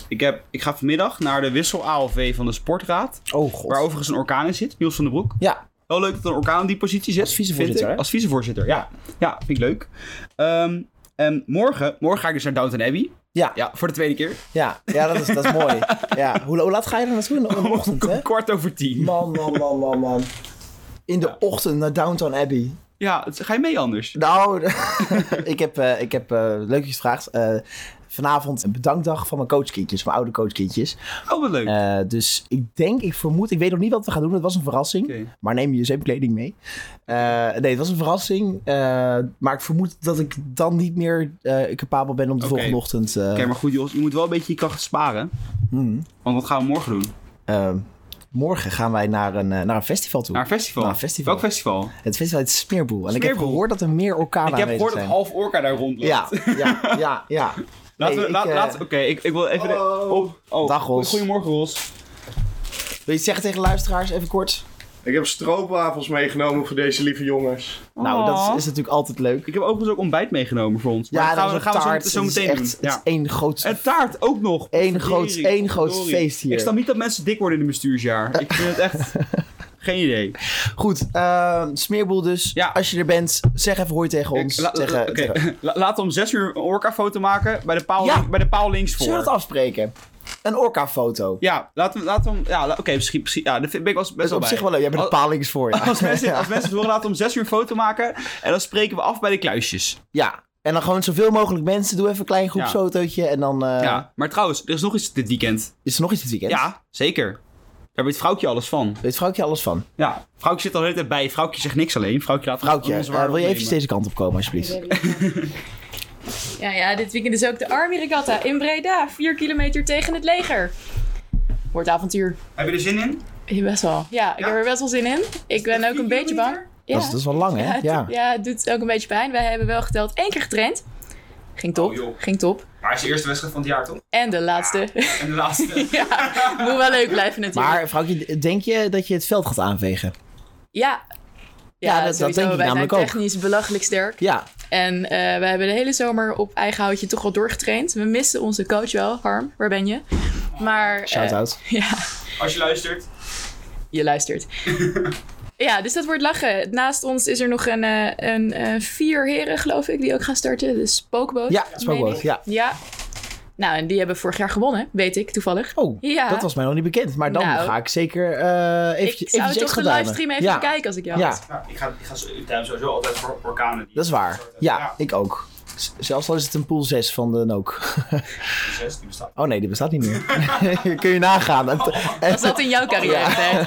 [SPEAKER 2] ik, heb, ik ga vanmiddag naar de wissel ALV van de Sportraad.
[SPEAKER 1] Oh god.
[SPEAKER 2] Waar overigens een orkaan in zit, Niels van den Broek.
[SPEAKER 1] Ja.
[SPEAKER 2] Wel leuk dat er een orkaan in die positie zit.
[SPEAKER 1] Als vicevoorzitter,
[SPEAKER 2] vind ik.
[SPEAKER 1] hè?
[SPEAKER 2] Als vicevoorzitter, ja. Ja, vind ik leuk. Ehm, en morgen, morgen ga ik dus naar Downton Abbey.
[SPEAKER 1] Ja.
[SPEAKER 2] Ja, voor de tweede keer.
[SPEAKER 1] Ja, ja dat, is, dat is mooi. Ja. Hoe, hoe laat ga je er naartoe in de, in
[SPEAKER 2] Oh,
[SPEAKER 1] de ochtend, hè?
[SPEAKER 2] Kwart over tien.
[SPEAKER 1] Man, man, man, man, man. In de ochtend naar Downtown Abbey.
[SPEAKER 2] Ja, het- ga je mee anders?
[SPEAKER 1] Nou, ik heb, eh, ik heb eh, leuk dat je het vraagt. Eh, vanavond een bedankdag van mijn coachkindjes, mijn oude coachkindjes.
[SPEAKER 2] Oh, wat leuk.
[SPEAKER 1] Eh, dus ik denk, ik vermoed, ik weet nog niet wat we gaan doen. Het was een verrassing.
[SPEAKER 2] Oké.
[SPEAKER 1] Maar neem je zeepkleding mee. Eh, nee, het was een verrassing. eh, maar ik vermoed dat ik dan niet meer eh capabel ben om de
[SPEAKER 2] Oké.
[SPEAKER 1] volgende ochtend... eh,
[SPEAKER 2] Oké, maar goed, Jos, je moet wel een beetje je kracht sparen.
[SPEAKER 1] hmm.
[SPEAKER 2] Want wat gaan we morgen doen?
[SPEAKER 1] Eh, morgen gaan wij naar een, eh, naar een festival toe.
[SPEAKER 2] Naar een festival.
[SPEAKER 1] Naar een festival.
[SPEAKER 2] Welk festival?
[SPEAKER 1] Het festival heet Smeerboel. En ik heb
[SPEAKER 2] Smeerboel.
[SPEAKER 1] gehoord dat er meer orkanen
[SPEAKER 2] ik heb
[SPEAKER 1] aanwezig
[SPEAKER 2] gehoord dat
[SPEAKER 1] zijn.
[SPEAKER 2] half orka daar rondloopt.
[SPEAKER 1] Ja, ja, ja, ja.
[SPEAKER 2] Laten
[SPEAKER 1] Nee,
[SPEAKER 2] we,
[SPEAKER 1] ik,
[SPEAKER 2] laat,
[SPEAKER 1] eh,
[SPEAKER 2] laat- Oké, ik, ik wil even... de-
[SPEAKER 1] Oh.
[SPEAKER 2] oh.
[SPEAKER 1] Dag, Ros.
[SPEAKER 2] Goedemorgen, Ros.
[SPEAKER 1] Wil je iets zeggen tegen de luisteraars, even kort?
[SPEAKER 5] Ik heb stroopwafels meegenomen voor deze lieve jongens.
[SPEAKER 1] Nou, dat
[SPEAKER 2] Oh.
[SPEAKER 1] is, is natuurlijk altijd leuk.
[SPEAKER 2] Ik heb overigens ook ontbijt meegenomen voor ons. Maar
[SPEAKER 1] Ja,
[SPEAKER 2] dat gaan we,
[SPEAKER 1] dat
[SPEAKER 2] dat
[SPEAKER 1] is
[SPEAKER 2] gaan
[SPEAKER 1] een
[SPEAKER 2] we
[SPEAKER 1] taart.
[SPEAKER 2] zo, zo
[SPEAKER 1] Het is
[SPEAKER 2] meteen
[SPEAKER 1] echt,
[SPEAKER 2] doen.
[SPEAKER 1] Het
[SPEAKER 2] Ja.
[SPEAKER 1] is één groot...
[SPEAKER 2] En taart ook nog.
[SPEAKER 1] Eén groot-
[SPEAKER 2] Verdorie.
[SPEAKER 1] één groot
[SPEAKER 2] Verdorie.
[SPEAKER 1] feest hier.
[SPEAKER 2] Ik snap niet dat mensen dik worden in een bestuursjaar. Ik vind het echt... Geen idee.
[SPEAKER 1] Goed, eh, Smeerboel dus.
[SPEAKER 2] Ja.
[SPEAKER 1] Als je er bent, zeg even hoi tegen ons.
[SPEAKER 2] Ik- la-
[SPEAKER 1] zeg, eh,
[SPEAKER 2] oké,
[SPEAKER 1] tegen-
[SPEAKER 2] la- laten we om zes uur een orka-foto maken bij de paal,
[SPEAKER 1] Ja.
[SPEAKER 2] bij de paal links voor.
[SPEAKER 1] Zullen we dat afspreken? Een orca-foto.
[SPEAKER 2] Ja, laten we, laten we ja, la- oké, misschien, misschien, ja, daar vind- ben ik wel best
[SPEAKER 1] Dat is
[SPEAKER 2] wel
[SPEAKER 1] op
[SPEAKER 2] bij.
[SPEAKER 1] zich wel leuk. Jij bent
[SPEAKER 2] Al-
[SPEAKER 1] er palings voor. Ja.
[SPEAKER 2] Als mensen, als mensen het horen, laten we om zes uur een foto maken en dan spreken we af bij de kluisjes.
[SPEAKER 1] Ja. En dan gewoon zoveel mogelijk mensen. Doe even een klein
[SPEAKER 2] Ja.
[SPEAKER 1] groepsfotootje. En dan eh,
[SPEAKER 2] ja, maar trouwens, er is nog iets dit weekend.
[SPEAKER 1] is er nog iets dit weekend.
[SPEAKER 2] Ja, zeker. Daar weet vrouwtje alles van.
[SPEAKER 1] Weet vrouwtje alles van?
[SPEAKER 2] Ja, vrouwtje zit al de hele tijd bij. Vrouwtje zegt niks alleen. Vrouwtje laat
[SPEAKER 1] Vrouwtje,
[SPEAKER 2] ons
[SPEAKER 1] eh,
[SPEAKER 2] waar
[SPEAKER 1] wil je even
[SPEAKER 2] opnemen.
[SPEAKER 1] deze kant op komen alsjeblieft?
[SPEAKER 4] Ja, ja, dit weekend is ook de Army Regatta in Breda. 4 kilometer tegen het leger. Wordt avontuur.
[SPEAKER 2] Heb je er zin in?
[SPEAKER 4] Ja, Best wel. Ja, ik
[SPEAKER 2] Ja?
[SPEAKER 4] heb er best wel zin in. Ik ben ook een beetje bang. Ja.
[SPEAKER 1] Dat, is, dat is wel lang, hè?
[SPEAKER 4] Ja,
[SPEAKER 1] Ja.
[SPEAKER 4] het, ja, het doet ook een beetje pijn. Wij hebben wel geteld één keer getraind. Ging
[SPEAKER 2] Oh,
[SPEAKER 4] top,
[SPEAKER 2] joh.
[SPEAKER 4] ging top.
[SPEAKER 2] Maar het is de eerste wedstrijd van het jaar, toch?
[SPEAKER 4] En de laatste.
[SPEAKER 2] En de laatste.
[SPEAKER 4] Ja, moet wel leuk blijven natuurlijk.
[SPEAKER 1] Maar vrouwtje, denk je dat je het veld gaat aanvegen?
[SPEAKER 4] ja.
[SPEAKER 1] Ja, dat- dat
[SPEAKER 4] sowieso.
[SPEAKER 1] denk ik
[SPEAKER 4] Wij
[SPEAKER 1] namelijk ook.
[SPEAKER 4] zijn technisch belachelijk sterk.
[SPEAKER 1] Ja.
[SPEAKER 4] En eh, wij hebben de hele zomer op eigen houtje toch wel doorgetraind. We misten onze coach wel. Harm, waar ben je? Maar eh,
[SPEAKER 1] Shout-out.
[SPEAKER 4] ja,
[SPEAKER 2] Als je luistert.
[SPEAKER 4] je luistert. ja, dus dat wordt lachen. Naast ons is er nog een, eh, een eh, vier heren, geloof ik, die ook gaan starten. De spookboot.
[SPEAKER 1] Ja,
[SPEAKER 4] meen
[SPEAKER 1] spookboot,
[SPEAKER 4] ik.
[SPEAKER 1] ja.
[SPEAKER 4] Ja. Nou, en die hebben vorig jaar gewonnen, weet ik toevallig.
[SPEAKER 1] Oh,
[SPEAKER 4] Ja.
[SPEAKER 1] dat was mij nog niet bekend. Maar dan
[SPEAKER 4] Nou.
[SPEAKER 1] ga ik zeker eh eventjes
[SPEAKER 4] ik
[SPEAKER 1] eventjes
[SPEAKER 4] zou toch
[SPEAKER 1] extra
[SPEAKER 4] de
[SPEAKER 1] duimen.
[SPEAKER 4] livestream even
[SPEAKER 1] ja.
[SPEAKER 4] kijken als ik jou
[SPEAKER 1] Ja,
[SPEAKER 4] was.
[SPEAKER 2] Nou, ik ga, ik ga sowieso altijd voor orkanen.
[SPEAKER 1] dat is waar. Ja, ik ook. Z- Zelfs al is het een pool 6 van de Nook. Oh nee, die bestaat niet meer. Kun je nagaan. En- en-
[SPEAKER 4] Oh, Dat zat in jouw carrière. hè?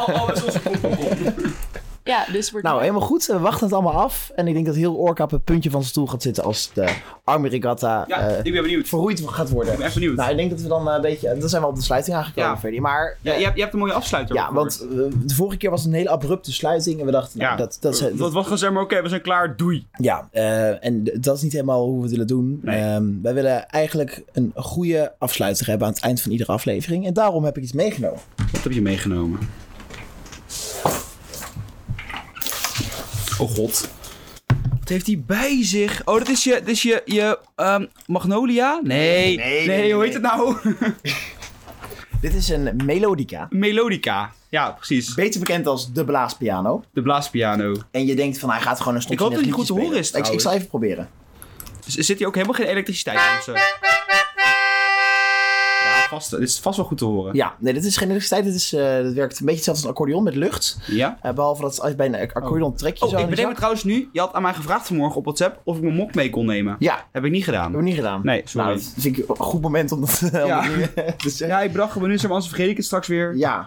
[SPEAKER 4] Ja, dus wordt
[SPEAKER 1] nou, helemaal goed. We wachten het allemaal af. En ik denk dat heel Orca op het puntje van zijn stoel gaat zitten als de Army Regatta
[SPEAKER 2] Ja,
[SPEAKER 1] eh,
[SPEAKER 2] ik ben benieuwd.
[SPEAKER 1] verroeid gaat worden.
[SPEAKER 2] Ik ben echt benieuwd.
[SPEAKER 1] Nou, ik denk dat we dan eh, een beetje... Dan zijn we op de sluiting aangekomen,
[SPEAKER 2] Ja.
[SPEAKER 1] Ferdy. Maar
[SPEAKER 2] Ja, je, hebt, je hebt een mooie afsluiter.
[SPEAKER 1] ja, want eh, de vorige keer was het een hele abrupte sluiting. En we dachten, nou,
[SPEAKER 2] Ja.
[SPEAKER 1] dat, dat, is- dat-
[SPEAKER 2] Dat was gewoon zeg maar, oké, we zijn klaar, doei.
[SPEAKER 1] Ja, eh, en d- dat is niet helemaal hoe we het willen doen.
[SPEAKER 2] Nee.
[SPEAKER 1] Ehm, wij willen eigenlijk een goede afsluiter hebben aan het eind van iedere aflevering. En daarom heb ik iets meegenomen.
[SPEAKER 2] Wat heb je meegenomen? Oh god. Wat heeft hij bij zich? Oh, dat is je, dat is je, je ehm, magnolia? Nee.
[SPEAKER 5] nee,
[SPEAKER 2] hoe
[SPEAKER 5] nee,
[SPEAKER 2] heet het nou?
[SPEAKER 1] Dit is een melodica.
[SPEAKER 2] Melodica. Ja, precies.
[SPEAKER 1] Beter bekend als de blaaspiano.
[SPEAKER 2] De blaaspiano.
[SPEAKER 1] En je denkt van hij gaat gewoon een stukje
[SPEAKER 2] Ik hoop
[SPEAKER 1] net
[SPEAKER 2] dat hij goed te
[SPEAKER 1] liedje
[SPEAKER 2] horen
[SPEAKER 1] spelen.
[SPEAKER 2] is,
[SPEAKER 1] Ik, ik zal even proberen.
[SPEAKER 2] Z- Dus Zit hier ook helemaal geen elektriciteit in? of zo? Ja, vast, dit is vast wel goed te horen.
[SPEAKER 1] Ja, nee, dit is geen elektriciteit. Dit is, eh, dat werkt een beetje hetzelfde als een accordeon met lucht.
[SPEAKER 2] Ja?
[SPEAKER 1] Eh, behalve dat als je bij een ac- accordeon trek je zo
[SPEAKER 2] Oh, ik
[SPEAKER 1] aan de
[SPEAKER 2] bedenk me
[SPEAKER 1] zak.
[SPEAKER 2] trouwens nu, je had aan mij gevraagd vanmorgen op WhatsApp of ik mijn mok mee kon nemen.
[SPEAKER 1] Ja, dat
[SPEAKER 2] Heb ik niet gedaan.
[SPEAKER 1] hebben we niet gedaan.
[SPEAKER 2] Nee, sorry.
[SPEAKER 1] Nou, dat vind ik een goed moment om dat eh, om
[SPEAKER 2] Ja.
[SPEAKER 1] dat nu te zeggen.
[SPEAKER 2] Ja, ik bedacht me nu, zeg maar, anders vergeet ik het straks weer.
[SPEAKER 1] Ja.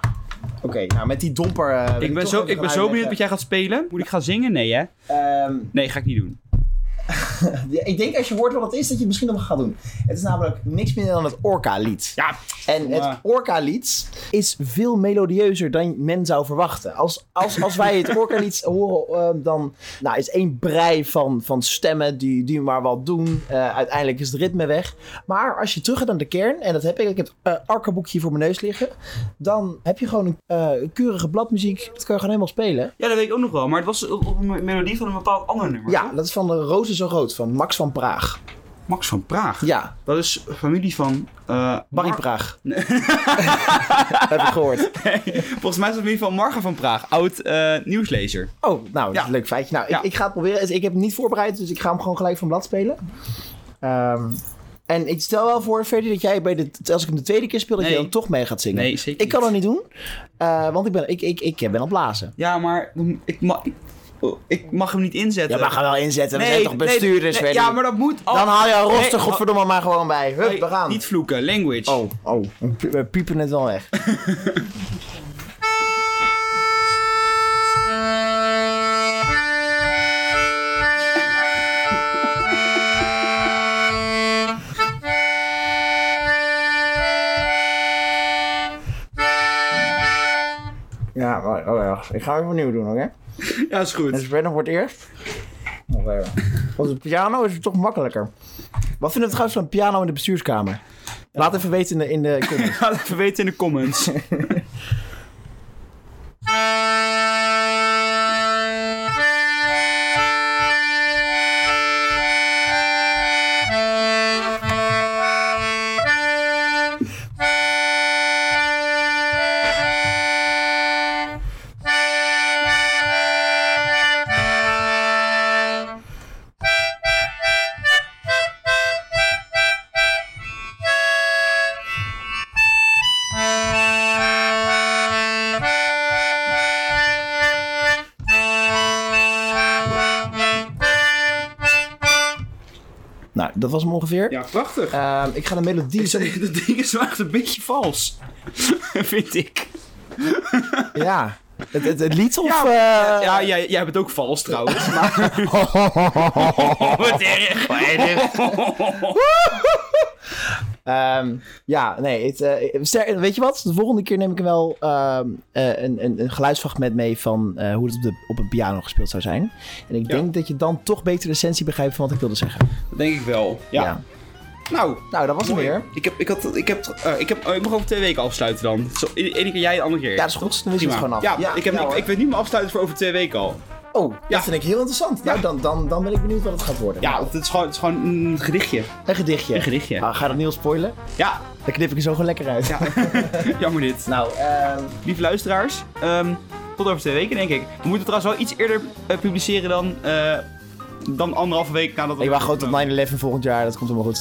[SPEAKER 1] Oké, nou met die domper... eh, wil
[SPEAKER 2] Ik ben
[SPEAKER 1] toch
[SPEAKER 2] zo,
[SPEAKER 1] even
[SPEAKER 2] ik ben
[SPEAKER 1] gaan
[SPEAKER 2] zo benieuwd
[SPEAKER 1] uitleggen.
[SPEAKER 2] wat jij gaat spelen. Moet ik gaan zingen? Nee, hè?
[SPEAKER 1] Ehm,
[SPEAKER 2] Nee, ga ik niet doen.
[SPEAKER 1] ja, ik denk als je hoort wat het is, dat je het misschien nog wel gaat doen. Het is namelijk niks minder dan het Orca-lied.
[SPEAKER 2] Ja,
[SPEAKER 1] En het
[SPEAKER 2] Ja.
[SPEAKER 1] Orca-lied is veel melodieuzer dan men zou verwachten. Als, als, als wij het Orca-lied horen, eh, dan nou, is één brei van, van stemmen die, die maar wat doen. Eh, uiteindelijk is het ritme weg. Maar als je terug gaat naar de kern, en dat heb ik, ik heb het uh, Orca-boekje hier voor mijn neus liggen. Dan heb je gewoon een eh, keurige bladmuziek. Dat kan je gewoon helemaal spelen.
[SPEAKER 2] ja dat weet ik ook nog wel. Maar het was op op een melodie van een bepaald ander nummer.
[SPEAKER 1] Ja, dat is van de Rozen zo rood, van Max van Praag.
[SPEAKER 2] Max van Praag.
[SPEAKER 1] Ja,
[SPEAKER 2] Dat is familie van... eh,
[SPEAKER 1] Barry
[SPEAKER 2] Mar-
[SPEAKER 1] Praag. Heb ik gehoord.
[SPEAKER 2] Volgens mij is het familie van Marga van Praag. Oud eh, nieuwslezer.
[SPEAKER 1] Oh, nou,
[SPEAKER 2] Ja.
[SPEAKER 1] leuk feitje. Nou, ik,
[SPEAKER 2] Ja.
[SPEAKER 1] ik ga het proberen. Ik heb het niet voorbereid, dus ik ga hem gewoon gelijk van blad spelen. Ehm, en ik stel wel voor, Ferdy, dat jij bij de, als ik hem de tweede keer speel, dat
[SPEAKER 2] Nee.
[SPEAKER 1] jij dan toch mee gaat zingen.
[SPEAKER 2] Nee, zeker
[SPEAKER 1] Ik kan
[SPEAKER 2] niet.
[SPEAKER 1] dat niet doen, eh, want ik ben, ik, ik, ik ben aan het blazen.
[SPEAKER 2] Ja, maar dan- ik, ma- ik, oh, ik mag hem niet inzetten.
[SPEAKER 1] Ja, maar ga wel inzetten. We zijn toch bestuurders,
[SPEAKER 2] nee,
[SPEAKER 1] Ferdy?
[SPEAKER 2] Ja, maar dat moet. Oh,
[SPEAKER 1] Dan haal je een roster,
[SPEAKER 2] Nee, oh,
[SPEAKER 1] godverdomme, maar gewoon bij. Hup,
[SPEAKER 2] nee,
[SPEAKER 1] we gaan.
[SPEAKER 2] Niet vloeken, language.
[SPEAKER 1] Oh, oh, we piepen het wel weg. Ja, wacht, wacht, wacht. Ik ga even opnieuw doen, oké?
[SPEAKER 2] Ja, is goed.
[SPEAKER 1] Dus Brennan wordt eerst. Wacht even. Want het piano is toch makkelijker. Wat vinden we trouwens van een piano in de bestuurskamer? Laat even weten in de, in de comments.
[SPEAKER 2] Laat even weten in de comments.
[SPEAKER 1] nou, dat was hem ongeveer.
[SPEAKER 2] Ja, prachtig.
[SPEAKER 1] Ehm, ik ga de melodie... zo-
[SPEAKER 2] dat ding is wel echt een beetje vals. Vind ik.
[SPEAKER 1] ja. Het, het, het lied of... eh, Ja,
[SPEAKER 2] Ja, jij, jij bent ook vals trouwens. Maar wat erg.
[SPEAKER 1] Ehm, ja, nee. Het, eh, ster- weet je wat? De volgende keer neem ik er wel ehm, eh, een, een, een geluidsfragment mee van eh, hoe het op, de, op een piano gespeeld zou zijn. En ik
[SPEAKER 2] Ja.
[SPEAKER 1] denk dat je dan toch beter de essentie begrijpt van wat ik wilde zeggen.
[SPEAKER 2] Dat denk ik wel. Ja. Nou,
[SPEAKER 1] Nou, dat was hem
[SPEAKER 2] mooi.
[SPEAKER 1] weer.
[SPEAKER 2] Ik heb, ik had, ik heb, eh, ik heb, eh, ik mag over twee weken afsluiten dan. Zo, e- ene keer jij, de andere keer.
[SPEAKER 1] Ja, dat is goed. Dan wist je het
[SPEAKER 2] Prima.
[SPEAKER 1] gewoon af.
[SPEAKER 2] Ja, ik, heb,
[SPEAKER 1] nou,
[SPEAKER 2] ik, ik weet nu mijn afsluiten voor over twee weken al.
[SPEAKER 1] Oh,
[SPEAKER 2] Ja.
[SPEAKER 1] dat vind ik heel interessant. Nou, dan, dan, dan ben ik benieuwd wat het gaat worden.
[SPEAKER 2] Ja,
[SPEAKER 1] Nou,
[SPEAKER 2] het is gewoon, het is gewoon een gedichtje.
[SPEAKER 1] een gedichtje.
[SPEAKER 2] Een gedichtje.
[SPEAKER 1] Ah, ga dat niet al spoilen?
[SPEAKER 2] Ja,
[SPEAKER 1] Dan knip ik er zo gewoon lekker uit.
[SPEAKER 2] Ja. jammer dit.
[SPEAKER 1] Nou, ehm,
[SPEAKER 2] Lieve luisteraars, ehm, tot over twee weken denk ik. We moeten trouwens wel iets eerder eh, publiceren dan, eh, dan anderhalve week nadat we...
[SPEAKER 1] ik wacht gewoon tot 9-11 volgend jaar. Dat komt helemaal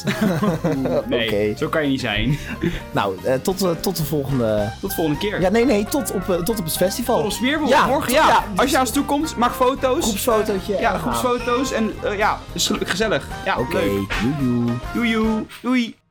[SPEAKER 1] goed.
[SPEAKER 2] Nee,
[SPEAKER 1] Oké.
[SPEAKER 2] zo kan je niet zijn.
[SPEAKER 1] nou, eh, tot, eh, tot de volgende...
[SPEAKER 2] Tot de volgende keer.
[SPEAKER 1] Ja, nee, nee. Tot op, eh, tot op het festival.
[SPEAKER 2] Tot op Smeerboel,
[SPEAKER 1] Ja,
[SPEAKER 2] morgen.
[SPEAKER 1] ja.
[SPEAKER 2] Ja. Als je naar ons toe komt, maak foto's.
[SPEAKER 1] groepsfotootje.
[SPEAKER 2] ja,
[SPEAKER 1] en we gaan.
[SPEAKER 2] groepsfoto's. En eh, ja, is gel- gezellig. Ja,
[SPEAKER 1] Oké,
[SPEAKER 2] leuk.
[SPEAKER 1] doei doei.
[SPEAKER 2] Doei, doei. doei.